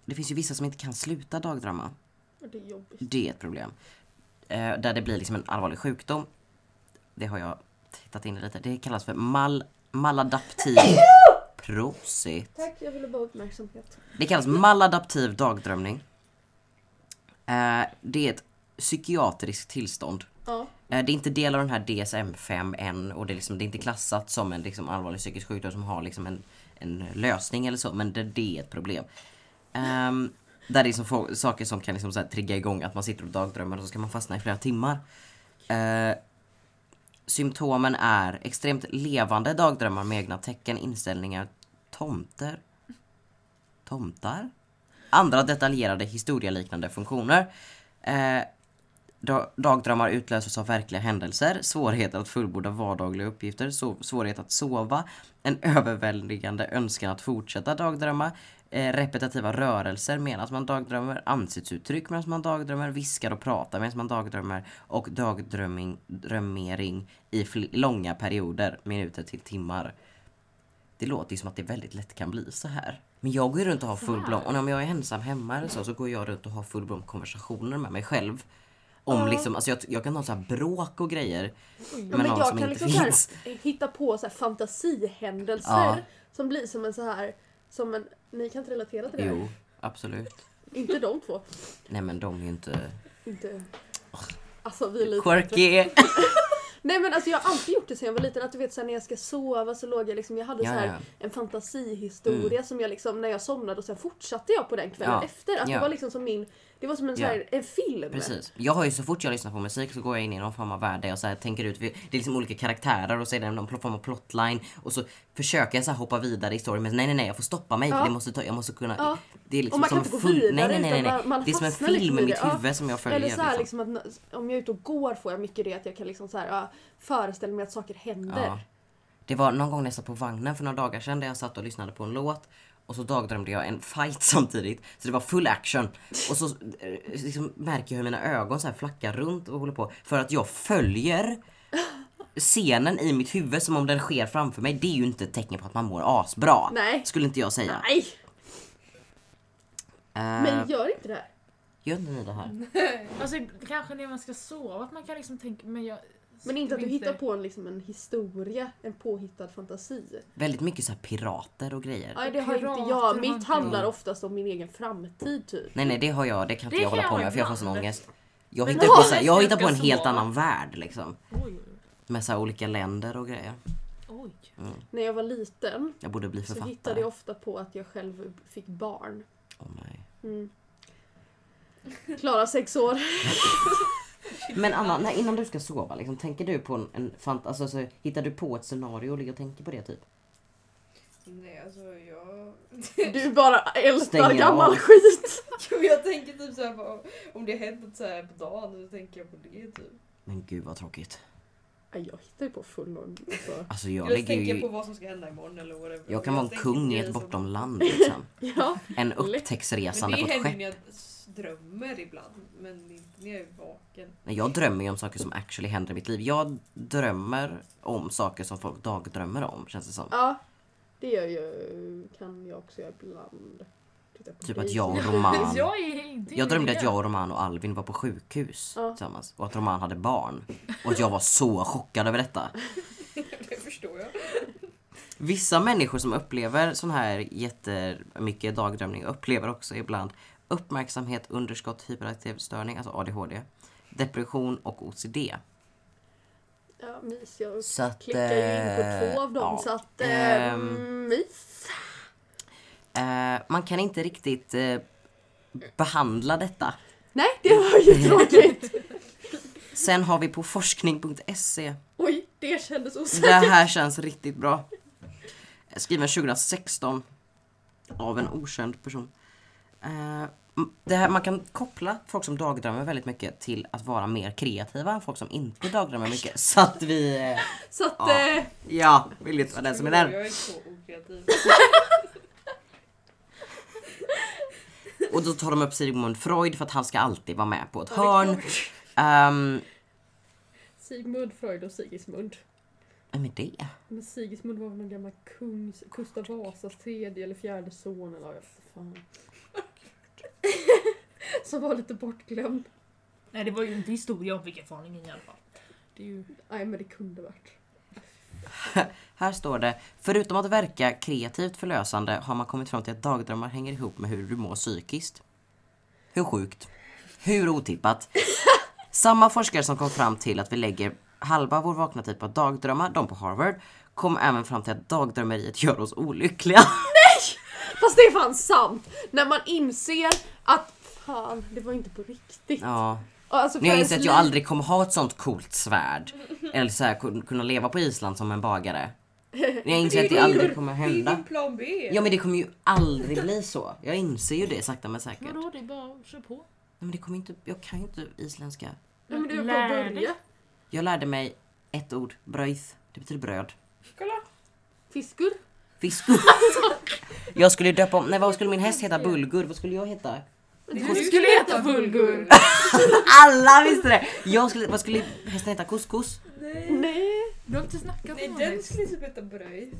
det finns ju vissa som inte kan sluta dagdrömma.
Och det är jobbigt.
Det är ett problem. Eh, där det blir liksom en allvarlig sjukdom. Det har jag tittat in i lite. Det kallas för mal, maladaptiv... Prosit.
Tack, jag ville bara ha uppmärksamhet.
Det kallas maladaptiv dagdrömning. Eh, det är ett psykiatriskt tillstånd.
Ja.
Eh, det är inte del av den här DSM-5 än och det är, liksom, det är inte klassat som en liksom, allvarlig psykisk sjukdom som har liksom, en, en lösning eller så, men det, det är ett problem. Ehm, där det är som få, saker som kan liksom, så här, trigga igång att man sitter och dagdrömmer och så ska man fastna i flera timmar. Eh, symptomen är extremt levande dagdrömmar med egna tecken, inställningar, tomter, tomtar, andra detaljerade historieliknande funktioner. Eh, Da- Dagdrömmar utlöses av verkliga händelser, svårigheter att fullborda vardagliga uppgifter, so- svårighet att sova, en överväldigande önskan att fortsätta dagdrömma, eh, repetitiva rörelser medan man dagdrömmer, ansiktsuttryck medan man dagdrömmer, viskar och pratar medan man dagdrömmer och dagdrömmering i fl- långa perioder, minuter till timmar. Det låter ju som att det väldigt lätt kan bli så här. Men jag går ju runt och har fullblom, och om jag är ensam hemma eller så, så går jag runt och har fullblom konversationer med mig själv. Om liksom, alltså jag, jag kan ha så här bråk och grejer.
Ja, men jag kan liksom så här, hitta på så här fantasihändelser
Ja.
som blir som en så här som en, ni kan inte relatera till det här.
Jo, absolut.
Inte de två.
Nej men de är ju inte...
Inte. Alltså vi är lite bättre.
Quirky!
Nej men alltså jag har alltid gjort det sen jag var liten. Att du vet så här, när jag ska sova så låg jag liksom, jag hade
Ja,
så här
ja. Mm.
en fantasihistoria som jag liksom, när jag somnade och sen fortsatte jag på den kvällen
Ja.
efter. Att
Ja.
det var liksom som min, det var som en, så här, en film.
Precis. Jag har ju så fort jag lyssnar på musik så går jag in i någon form av värld där jag så här tänker ut, det är liksom olika karaktärer och så är det någon form av plotline och så försöker jag så här hoppa vidare i storyn men nej nej nej jag får stoppa mig
Ja.
för det måste ta, jag måste kunna.
Ja.
Det är liksom
Och man kan
som
inte
en
gå
fil-
vidare
nej, nej, nej, nej.
utan man- man
Det är som en
fastnar
film
liksom
i
i
mitt
det. Ja.
huvud som jag följer.
Eller så här, liksom. att om jag är ute och går får jag mycket det att jag kan liksom så här, ja, föreställa mig att saker händer.
Ja. Det var någon gång när jag satt på vagnen för några dagar sedan där jag satt och lyssnade på en låt och så dagdrömde jag en fight samtidigt. Så det var full action. Och så eh, liksom, märker jag hur mina ögon så här flackar runt och håller på. För att jag följer scenen i mitt huvud som om den sker framför mig. Det är ju inte ett tecken på att man mår asbra.
Nej.
Skulle inte jag säga.
Nej!
Eh,
Men gör inte det här.
Gör inte ni det här?
Alltså kanske när man ska sova att man kan liksom tänka men jag...
Men inte att du hittar på en, liksom, en historia, en påhittad fantasi.
Väldigt mycket så här pirater och grejer.
Nej det har inte
Pirater har
jag. Mitt
inte
handlar
jag.
oftast om min egen framtid typ.
Nej nej det har jag, det kan inte
Det
jag
kan
hålla på
jag
med för jag får sån
ibland.
ångest. Jag
Men
hittar
då-
på, så här, jag
jag
hittar på en
ska
helt
sova.
annan värld liksom.
Oj, oj,
Med så här olika länder och grejer.
oj.
När jag var liten
Jag borde bli
så
författare.
hittade jag ofta på att jag själv fick barn.
Åh, nej.
Mm. Klara sex år.
Men Anna, när, innan du ska sova, liksom, tänker du på en, en fant- alltså, så, hittar du på ett scenario och ligger och tänker på det typ?
Nej alltså jag...
Du bara ältar
Stänger av.
gammal skit.
Jo, jag tänker typ såhär på om det har hänt något såhär på dagen så tänker jag på det typ.
Men gud vad tråkigt.
Nej, Jag hittar ju på full on. Alltså.
Alltså jag
Eller så
ligger
tänker jag på
ju...
vad som ska hända imorgon eller whatever.
Jag kan vara en
tänker
kung i
grejer
ett
som-
bortomland liksom.
Ja.
En
Lätt.
Men
upptäcktsresande
det
på ett
händer ju
skepp.
när jag s- drömmer ibland men inte när jag är vaken.
Nej, Jag drömmer ju om saker som actually händer i mitt liv. Jag drömmer om saker som folk dagdrömmer om känns det som.
ja. Det gör ju, kan jag också göra ibland. Titta på
Typ
dig.
att jag och Roman...
Jag är inte
Jag drömde att jag, och Roman och Alvin var på sjukhus
Ja.
tillsammans och att Roman hade barn. Och att jag var så chockad över detta.
det förstår jag.
Vissa människor som upplever sån här jättemycket dagdrömning upplever också ibland uppmärksamhet, underskott, hyperaktiv störning, alltså ADHD, depression och OCD.
Ja, mys. Jag
Så att,
klickar ju in på
eh,
två av dem
ja.
så att...
Ehm.
Ähm, mys.
Eh, man kan inte riktigt eh, behandla detta.
Nej, det var ju tråkigt.
Sen har vi på forskning.se.
Oj, det kändes osäkert.
Det här känns riktigt bra. Skriven 2016 av en okänd person. Eh, m- det här, man kan koppla folk som dagdrömmer väldigt mycket till att vara mer kreativa än folk som inte dagdrömmer mycket. Så att vi... eh,
Så att...
Ja.
eh,
Ja, vill inte vara den som är
Jo,
den.
Jag är så okreativ.
Och då tar de upp Sigmund Freud för att han ska alltid vara med på ett hörn. Ehm,
Sigmund Freud och Sigismund.
vem är det?
Men Sigismund var väl någon gammal kung, Gustav Vasas tredje eller fjärde son eller jag vet inte fan. Som var lite bortglömd.
Nej det var ju inte historia om vilken farningen i alla fall. Det är ju...
Nej men det kunde varit.
Här står det, förutom att verka kreativt förlösande har man kommit fram till att dagdrömmar hänger ihop med hur du mår psykiskt. Hur sjukt? Hur otippat? Samma forskare som kom fram till att vi lägger halva vår vakna tid på att dagdrömma, de på Harvard, kom även fram till att dagdrömmeriet gör oss olyckliga.
Fast det är fan sant! När man inser att fan, det var inte på riktigt.
Ja.
Och Alltså,
Nu har jag
för
insett
ens
att jag
liv-
aldrig kommer ha ett sånt coolt svärd. Eller så här, kun- kunna leva på Island som en bagare. Nu har jag inser att det aldrig kommer
Det är ju
hända.
din plan B.
Ja men det kommer ju aldrig bli så. Jag inser ju det sakta men säkert.
Vadå det är bara att köra på.
Nej men det kommer inte, jag kan ju inte isländska.
Nej men det är bara
Lär dig.
börja.
Jag lärde mig ett ord, bröjth. Det betyder bröd.
Kolla!
Fiskur.
Fiskur. jag skulle döpa om, nej vad skulle min häst heta? Bulgur. Vad skulle jag heta?
Du skulle heta Bulgur.
Alla visste det! Jag skulle, vad skulle hästen heta? Couscous?
Nej,
Nej.
Du har inte snackat
Nej
om
den
det.
skulle typ heta Bröjs.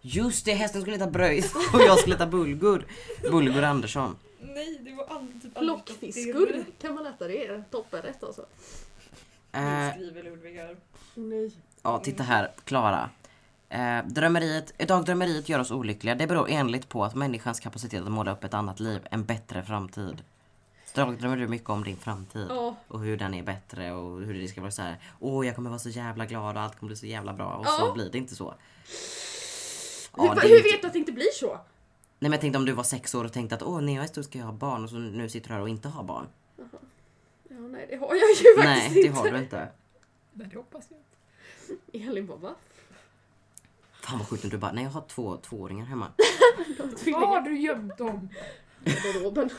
Just det, hästen skulle heta bröjth och jag skulle heta bulgur. Bulgur Andersson.
Nej, det var aldrig typ aldrig
Plockfiskur kan man äta det. är Toppenrätt alltså.
Eh,
Skriver Ludvig här.
Nej.
Ja, titta här. Klara. Eh, drömmeriet, idag drömmeriet gör oss olyckliga. Det beror enligt på att människans kapacitet att måla upp ett annat liv, en bättre framtid. Idag drömmer du mycket om din framtid
Ja.
och hur den är bättre och hur det ska vara så här. Åh, jag kommer vara så jävla glad och allt kommer bli så jävla bra och
Ja.
så blir det inte så. Ja,
Hur,
det är
hur
inte-
vet du att det inte blir så?
Nej men jag tänkte om du var sex år och tänkte att åh när jag är stor ska jag ha barn och så nu sitter du här och inte har barn.
Ja, nej det har jag ju
Nej
faktiskt
det
inte.
har du inte.
Nej, det hoppas jag inte.
Elin bara va?
Fan vad sjukt om du bara nej jag har två tvååringar hemma.
Var har du gömt dem?
Garderoben.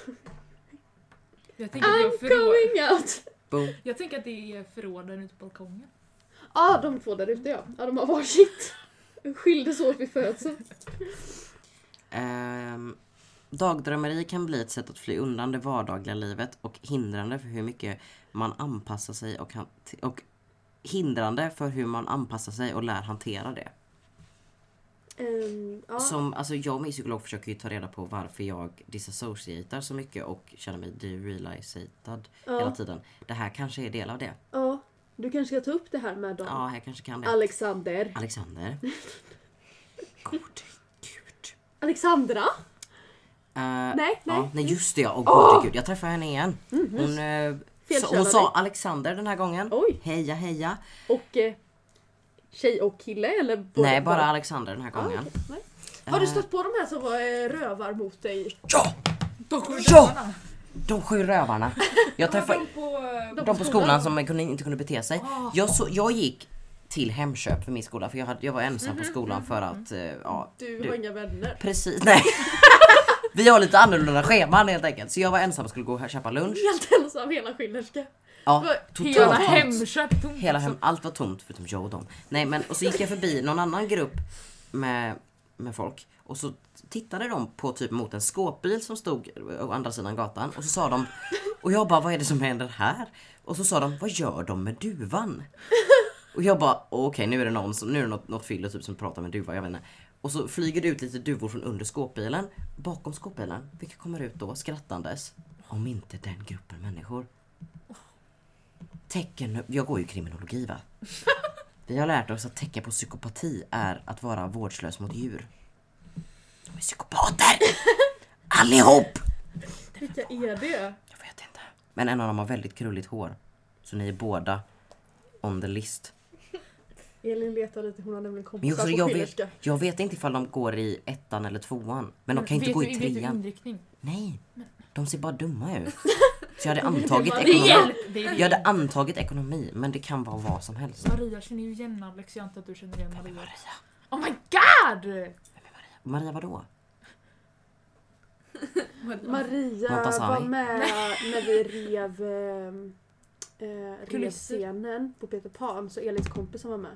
Jag tänker, att det
I'm
är förråd.
going out!
Boom.
jag tänker att det är förråden ute på balkongen.
Ja ah, de två där ute ja. Ja de har varsitt. De Skildes åt vid födseln.
Ehm, dagdrömmeri kan bli ett sätt att fly undan det vardagliga livet och hindrande för hur mycket man anpassar sig och, han- och hindrande för hur man anpassar sig och lär hantera det.
Ehm, ja.
Som, alltså jag och min psykolog försöker ju ta reda på varför jag disassociatar så mycket och känner mig derealisated hela
ja.
tiden. Det här kanske är del av det.
ja. Du kanske ska ta upp det här med dem.
Ja, jag kanske kan det.
Alexander.
Alexander. God gud.
Alexandra?
Eh,
Nej, nej.
Ja, nej just det ja. Åh
Åh!
gode gud, jag träffade henne igen. Hon, eh,
Felkälade
sa, hon sa Alexander den här gången.
Oj.
Heja heja.
Och eh, tjej och kille eller? båda-
Nej bara Alexander den här
Ah,
gången.
okej. Nej. Har du stött på de här som var eh, rövar mot dig?
Ja!
De sju
Ja!
dörrarna.
De sju rövarna. Jag träffade
De på... eh,
de på skolan som kunde, inte kunde bete sig. Jag, så, jag gick till Hemköp för min skola för jag, hade, jag var ensam på skolan för att, eh, ja
Du,
Du.
har inga vänner.
precis, nej. Vi har lite annorlunda scheman helt enkelt. Så jag var ensam och skulle gå och köpa lunch.
Helt ensam hela Skinnerska.
Ja, totalt
Hela
tomt.
Hemköp tomt.
Hela
alltså.
hem, allt var tomt förutom jag och dem. Nej men och så gick jag förbi någon annan grupp med, med folk och så tittade de på typ mot en skåpbil som stod å andra sidan gatan och så sa de och jag bara vad är det som händer här? Och så sa de vad gör de med duvan? Och jag bara okej nu är det någon som, nu är det något, något fyller typ som pratar med duva, jag vet inte. Och så flyger det ut lite duvor från under skåpbilen, bakom skåpbilen, vilka kommer ut då skrattandes. Om inte den gruppen människor. Tecken, jag går ju kriminologi va? Vi har lärt oss att tecken på psykopati är att vara vårdslös mot djur. De är psykopater! Allihop!
Vilka är det?
Jag vet inte. Men en av dem har väldigt krulligt hår. Så ni är båda on the list.
Elin letar lite, hon har nämligen
Men jag,
kompisar
så
på
jag, vet,
Schillerska.
jag vet inte ifall de går i ettan eller tvåan. Men de kan inte
vet
gå
du-
i
Vet du
trean.
inriktning?
Nej, de ser bara dumma ut. Så jag hade antagit
Det
ekonomi.
Hjälp! Det är
Jag hade antagit ekonomi, men det kan vara vad som helst.
Maria känner ju igen Alex, jag antar att du känner igen Maria. Oh my god!
Maria vadå?
Maria
Montazami.
var med när vi rev, ehm, eh, rev
Kulisser.
scenen på Peter Pan så Elins kompis som var med.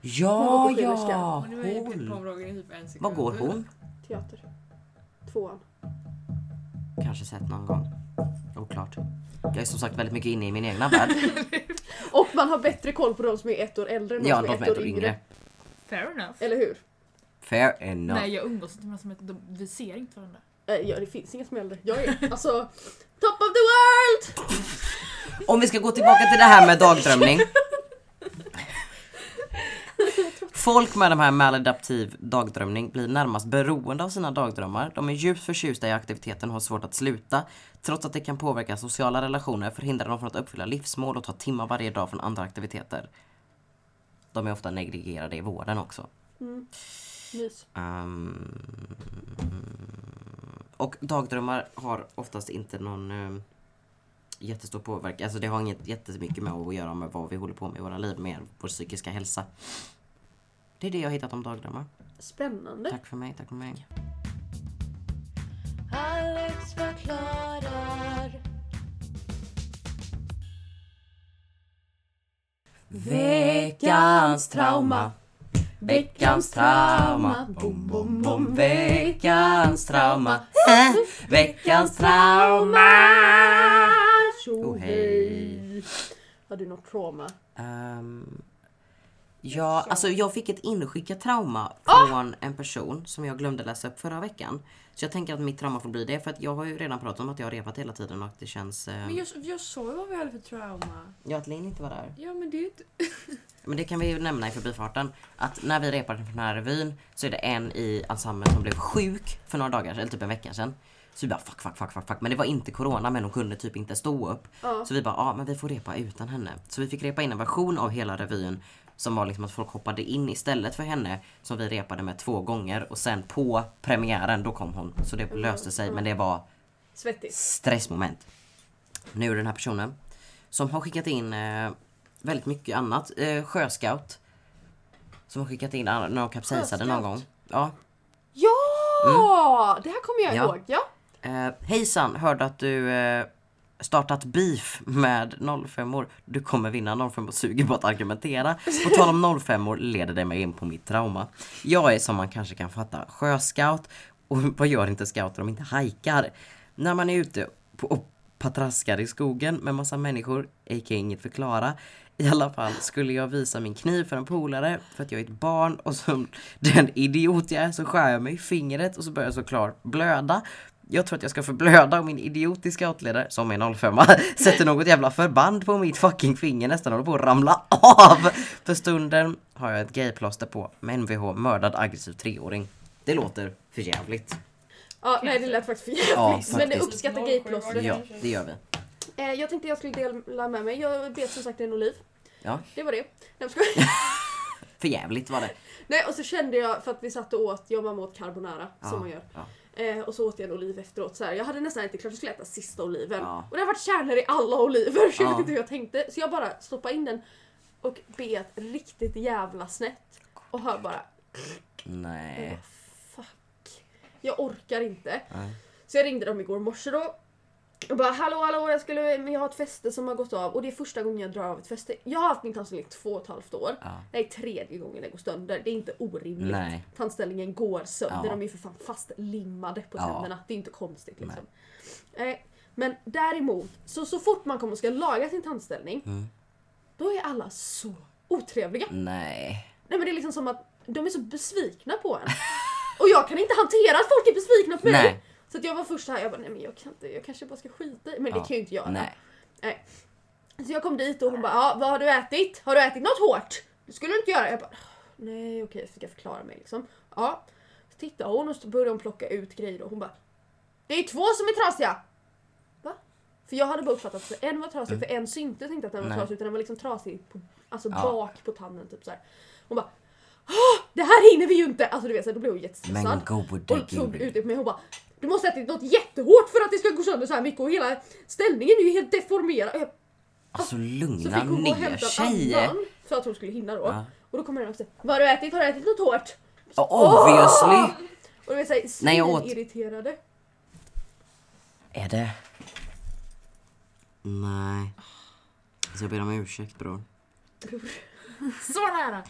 Ja,
Hon går på skillerska.
ja,
Och nu är ju
hon.
pepparkakan i typ en sekund.
Vad går hon?
Teater. Tvåan.
Kanske sett någon gång. Oklart. Jag är som sagt väldigt mycket inne i min egna värld.
Och man har bättre koll på de som är ett år äldre än de
Ja,
som är ett år yngre.
Fair enough.
Eller hur?
Fair enough.
Nej jag umgås inte med någon som heter, de, vi ser inte varandra.
Eh, ja, det finns inga som är äldre. Jag är alltså top of the world!
Om vi ska gå tillbaka till det här med dagdrömning. Folk med de här maladaptiv dagdrömning blir närmast beroende av sina dagdrömmar. De är djupt förtjusta i aktiviteten och har svårt att sluta. Trots att det kan påverka sociala relationer, förhindra dem från att uppfylla livsmål och ta timmar varje dag från andra aktiviteter. De är ofta negligerade i vården också.
Mm. Mys.
Ehm, och dagdrömmar har oftast inte någon eh, jättestor påverkan. Alltså det har inget jättemycket med att göra med vad vi håller på med i våra liv, mer vår psykiska hälsa. Det är det jag har hittat om dagdrömmar.
Spännande.
Tack för mig, tack för mig.
Alex förklarar.
Veckans trauma. Veckans trauma. Bom, bom, bom. Veckans trauma. Veckans trauma.
Tjo
Oh, hej.
Har du något trauma?
Ehm, ja, alltså jag fick ett inskickat trauma från en person som jag glömde läsa upp förra veckan. Så jag tänker att mitt trauma får bli det för att jag har ju redan pratat om att jag har repat hela tiden och att det känns... eh,
Men jag, jag sa ju vad vi hade för trauma.
Ja, att Linn inte var där.
Ja men det är ju inte...
Men det kan vi ju nämna i förbifarten. Att när vi repade för den här revyn så är det en i ensemblen som blev sjuk för några dagar eller typ en vecka sedan. Så vi bara fuck, fuck, fuck, fuck, fuck. Men det var inte corona men hon kunde typ inte stå upp.
Ja.
Så vi bara, ja ah, men vi får repa utan henne. Så vi fick repa in en version av hela revyn som var liksom att folk hoppade in istället för henne som vi repade med två gånger och sen på premiären då kom hon. Så det löste sig men det var
Svettigt.
stressmoment. Nu är det den här personen som har skickat in eh, väldigt mycket annat. Eh, sjöscout. Som har skickat in an- när de kapsejsade någon gång. Ja.
Ja! Det här kommer jag
Mm. Ja.
ihåg. Ja.
Eh, hejsan, hörde att du eh, startat beef med 05or. Du kommer vinna 05or suger på att argumentera. På tal om 05or leder det mig in på mitt trauma. Jag är som man kanske kan fatta sjöscout och vad gör inte scouter om inte hajkar? När man är ute på, och patraskar i skogen med massa människor, a.k.a. inget förklara. I alla fall skulle jag visa min kniv för en polare för att jag är ett barn och som den idiot jag är så skär jag mig i fingret och så börjar jag såklart blöda. Jag tror att jag ska förblöda och min idiotiska outledare, som är 05 sätter något jävla förband på mitt fucking finger nästan håller på att ramla av. För stunden har jag ett gayplåster på med NVH mördad aggressiv treåring. Det låter för jävligt.
ja nej det lät faktiskt för
Ja,
jävligt. men det
faktiskt.
uppskattar gayplåstret.
Ja, det gör vi.
Eh, jag tänkte jag skulle dela med mig. Jag bet som sagt en oliv.
Ja.
Det var det. Nej, jag skojar.
För jävligt var det.
Nej och så kände jag för att vi satt och åt, jag och mamma åt carbonara
Ja,
som man gör.
ja.
Eh, och så åt jag en oliv efteråt. Så här. Jag hade nästan inte klart jag skulle äta sista oliven.
Ja.
Och det har varit kärnor i alla oliver så jag
Ja.
vet inte hur jag tänkte. Så jag bara stoppade in den och bet riktigt jävla snett. Och hör bara
Nej.
fuck. Jag orkar inte.
Nej.
Så jag ringde dem igår morse då. Och bara hallå hallå jag, skulle, men jag har ett fäste som har gått av och det är första gången jag drar av ett fäste. Jag har haft min tandställning i två och ett halvt år.
Ja.
Det är tredje gången det går sönder. Det är inte orimligt.
Nej.
Tandställningen går sönder.
Ja.
De är ju för fan fastlimmade på
Ja.
tänderna. Det är inte konstigt liksom. Nej. Men däremot, så, så fort man kommer och ska laga sin tandställning
Mm.
då är alla så otrevliga.
Nej.
Nej men det är liksom som att de är så besvikna på en. Och jag kan inte hantera att folk är besvikna på mig.
Nej.
Så att jag var först här, jag bara nej men jag kan inte, jag kanske bara ska skita i Men det
Ja.
kan jag ju inte göra.
Nej.
Så jag kom dit och hon bara, ja vad har du ätit? Har du ätit något hårt? Det skulle du inte göra. Jag bara, nej okej, så ska jag förklara mig liksom. Ja. Så tittade hon och så började hon plocka ut grejer och hon bara, det är två som är trasiga! Va? För jag hade bara uppfattat att en var trasig för en syntes inte att den var
Nej.
trasig utan den var liksom trasig på, alltså
Ja.
bak på tanden typ så här. Hon bara, "Åh, det här hinner vi ju inte! Alltså du vet så här, då blev hon jättestressad.
Men gode
Och tog ut
gud.
det på mig och bara Du måste ätit något jättehårt för att det ska gå sönder så här mycket och hela ställningen är ju helt deformerad. Och jag-
Alltså
Så
lugna
fick hon gå och
ner
hämta
tjejer.
en annan för att hon skulle hinna då.
Ja.
Och då kommer den och säger Vad har du ätit? Har du ätit något hårt?
Ja, Obviously!
Och du vet
Nej, jag åt-
såhär irriterade.
Är det? Nej. Så jag ber om ursäkt bror.
Så nära!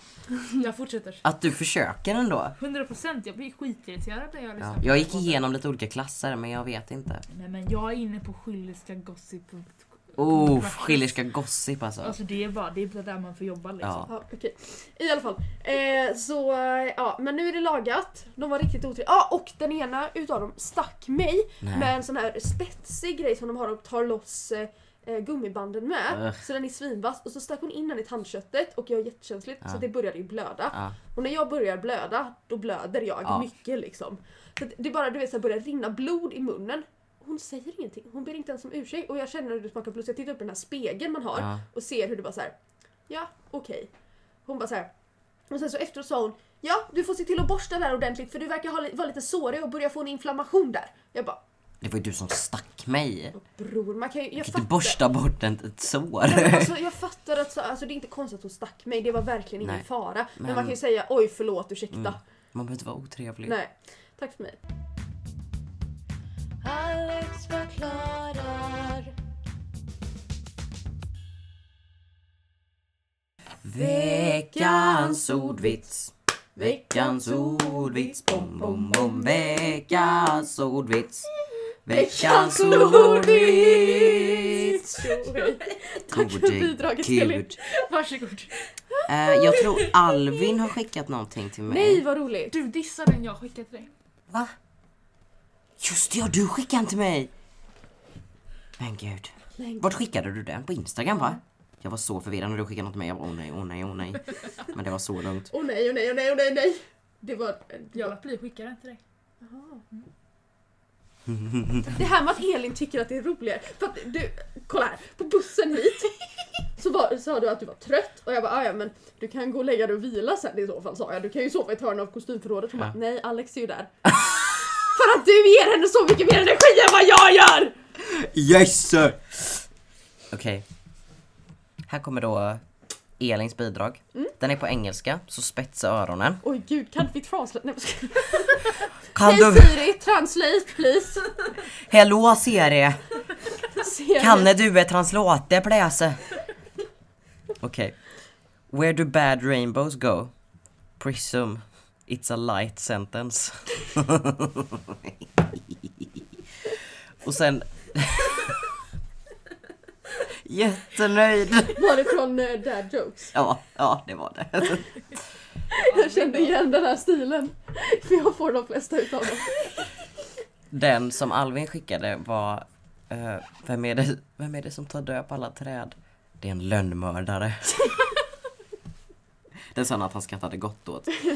Jag fortsätter.
Att du försöker ändå.
100% jag blir skitirriterad när jag lyssnar
Ja.
på
Jag
den
gick
podden.
igenom lite olika klasser men jag vet inte.
Nej men jag är inne på skillerskagossip.com.
Oh, skillerska gossip alltså.
Alltså det är bara, det är där man får jobba liksom.
Ja.
Ja, okej. I alla fall. Eh, så eh, ja, men nu är det lagat. De var riktigt otrevliga. Ja, och den ena utav dem stack mig
Nej.
med en sån här spetsig grej som de har och tar loss eh, eh, gummibanden med.
Ugh.
Så den är svinvass. Och så stack hon in den i tandköttet och jag är jättekänsligt
Ja.
så det började ju blöda.
Ja.
Och när jag börjar blöda, då blöder jag
Ja.
mycket liksom. Så att det bara du vet, så här, börjar rinna blod i munnen. Hon säger ingenting. Hon ber inte ens om ursäkt. Och jag känner hur det smakar blod. Så jag tittar upp i den här spegeln man har
Ja.
och ser hur det bara så här. Ja, okej. Hon bara så här. Och sen så efteråt sa hon Ja, du får se till att borsta där ordentligt för du verkar ha, li- vara lite sårig och börja få en inflammation där. Jag bara,
Det var ju du som stack mig.
bror man kan ju... Jag
Kan du
fattar.
borsta bort en- ett sår?
Ja, men Alltså, jag fattar att så, alltså, det är inte konstigt att hon stack mig, det var verkligen ingen
Nej.
fara. Men,
Men-
man kan ju säga oj förlåt, ursäkta.
Mm. Man behöver inte vara otrevlig.
Nej, tack för mig.
Alex förklarar.
Veckans ordvits. Veckans ordvits. Bom, bom, bom. Veckans ordvits. Veckans ordvits.
Tack för
Gode
bidraget,
Gud.
Elin.
Varsågod.
Eh, jag tror Alvin har skickat någonting till mig.
Nej vad roligt!
Du dissar den jag skickade till dig.
Va? Just det, ja du skickade den till mig! Men gud.
Nej.
Vart skickade du den? På Instagram va? Jag var så förvirrad när du skickade något till mig. Jag bara åh nej, åh nej, åh nej. Men det var så lugnt.
Åh oh, nej, åh oh, nej, åh oh, nej, åh oh, nej, nej! Det var... det
Jag
var-
lät bli att skicka den till dig.
Det här med att Elin tycker att det är roligare. För att du, kolla här, på bussen hit så var, sa du att du var trött och jag bara "Ah, ja men du kan gå och lägga dig och vila sen i så fall sa jag. Du kan ju sova i ett hörn av kostymförrådet. Hon bara
Ja.
nej Alex är ju där. För att du ger henne så mycket mer energi än vad jag gör!
Yes sir! Okej. Här kommer då Elins bidrag.
Mm.
Den är på engelska, så spetsa öronen.
Oj gud, kan vi translate? Nej, jag skojar.
Kan
Hej
du...
Siri, translate please!
Hallå Siri!
Siri.
Kanne du är translate pläse? Okej. Where do bad rainbows go? Prism. It's a light sentence. Och sen... Jättenöjd.
Var det från eh, Dad Jokes?
Ja, ja det var det.
Jag kände igen den här stilen. För jag får de flesta utav dem.
Den som Alvin skickade var... eh, vem, är det, vem är det som tar död på alla träd? Det är en lönnmördare. Den sa han att han skrattade gott åt.
Okej,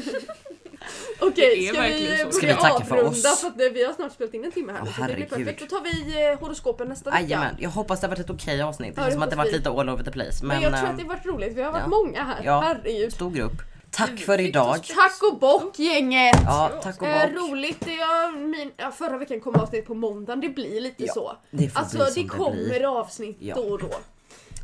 Det är
ska vi
verkligen
eh,
så.
Ska vi
börja
tacka för
avrunda
oss?
för att eh, vi har snart spelat in en timme här.
Åh,
så det blir
herregud.
perfekt. Då tar vi eh, horoskopen nästa vecka.
Jajamän, jag hoppas det har varit ett okej avsnitt. Det
Ja,
känns
det
som att det
hoppas
varit
vi.
lite all over the place.
Men
Men,
jag tror att det
ehm,
har varit roligt. Vi har varit
ja.
många här.
Ja.
Herregud.
stor grupp. Tack
Du
för
fick
idag.
oss-
Tack och bock gänget!
Ja, tack och
Eh,
bock.
roligt. Det är min, ja, förra veckan kom avsnitt på måndagen. Det blir lite
Ja,
så.
Det får
Alltså
bli
det,
som det
kommer
blir.
avsnitt
Ja.
då och då.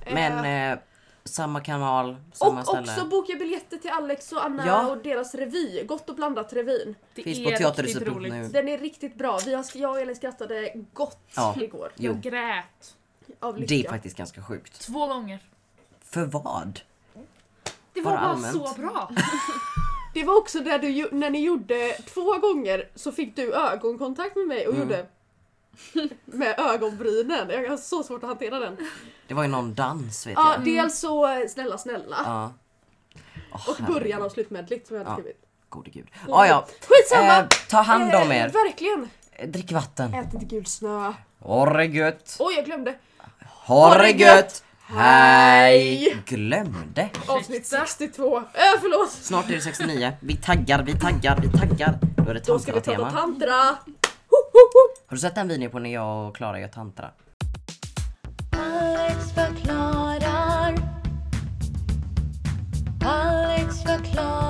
Eh,
Men eh, samma kanal, samma
och
ställe.
också boka biljetter till Alex och Anna
Ja. Mm.
och deras revy. Gott och blandat revyn.
Det
Finns på
E,
teaterhuset.nu.
Den är riktigt bra. Vi har, jag och Elin skrattade gott
Ja.
igår.
Jo,
Jag grät.
Av lycka.
det är faktiskt ganska sjukt.
Två gånger.
För vad?
det
bara
var bara
allmänt.
så
bra.
Det var också där du, gjo- när ni gjorde två gånger så fick du ögonkontakt med mig och
Mm.
gjorde med ögonbrynen. Jag har så svårt att hantera den.
Det var ju någon dans vet
Ja,
jag.
dels så eh, snälla snälla
Ja. Åh,
och
herregud.
början av slutmedligt som jag hade
Ja.
skrivit.
Gode gud. Ah, ja,
Skitsamma!
eh, ta hand om
Eh,
er. Eh,
Verkligen!
Drick vatten.
Ät inte gul snö.
Ha det gött.
Oj, jag glömde.
Ha det gött.
Hej.
Hej. Glömde.
Avsnitt 62. Äh, förlåt!
Snart är det 69. Vi taggar, vi taggar, vi taggar. Då är det
Då ska vi
tantra-tema.
prata tantra. Ho, ho, ho.
Har du sett den videon på när jag och Klara gör tantra?
Alex förklarar. Alex förklarar.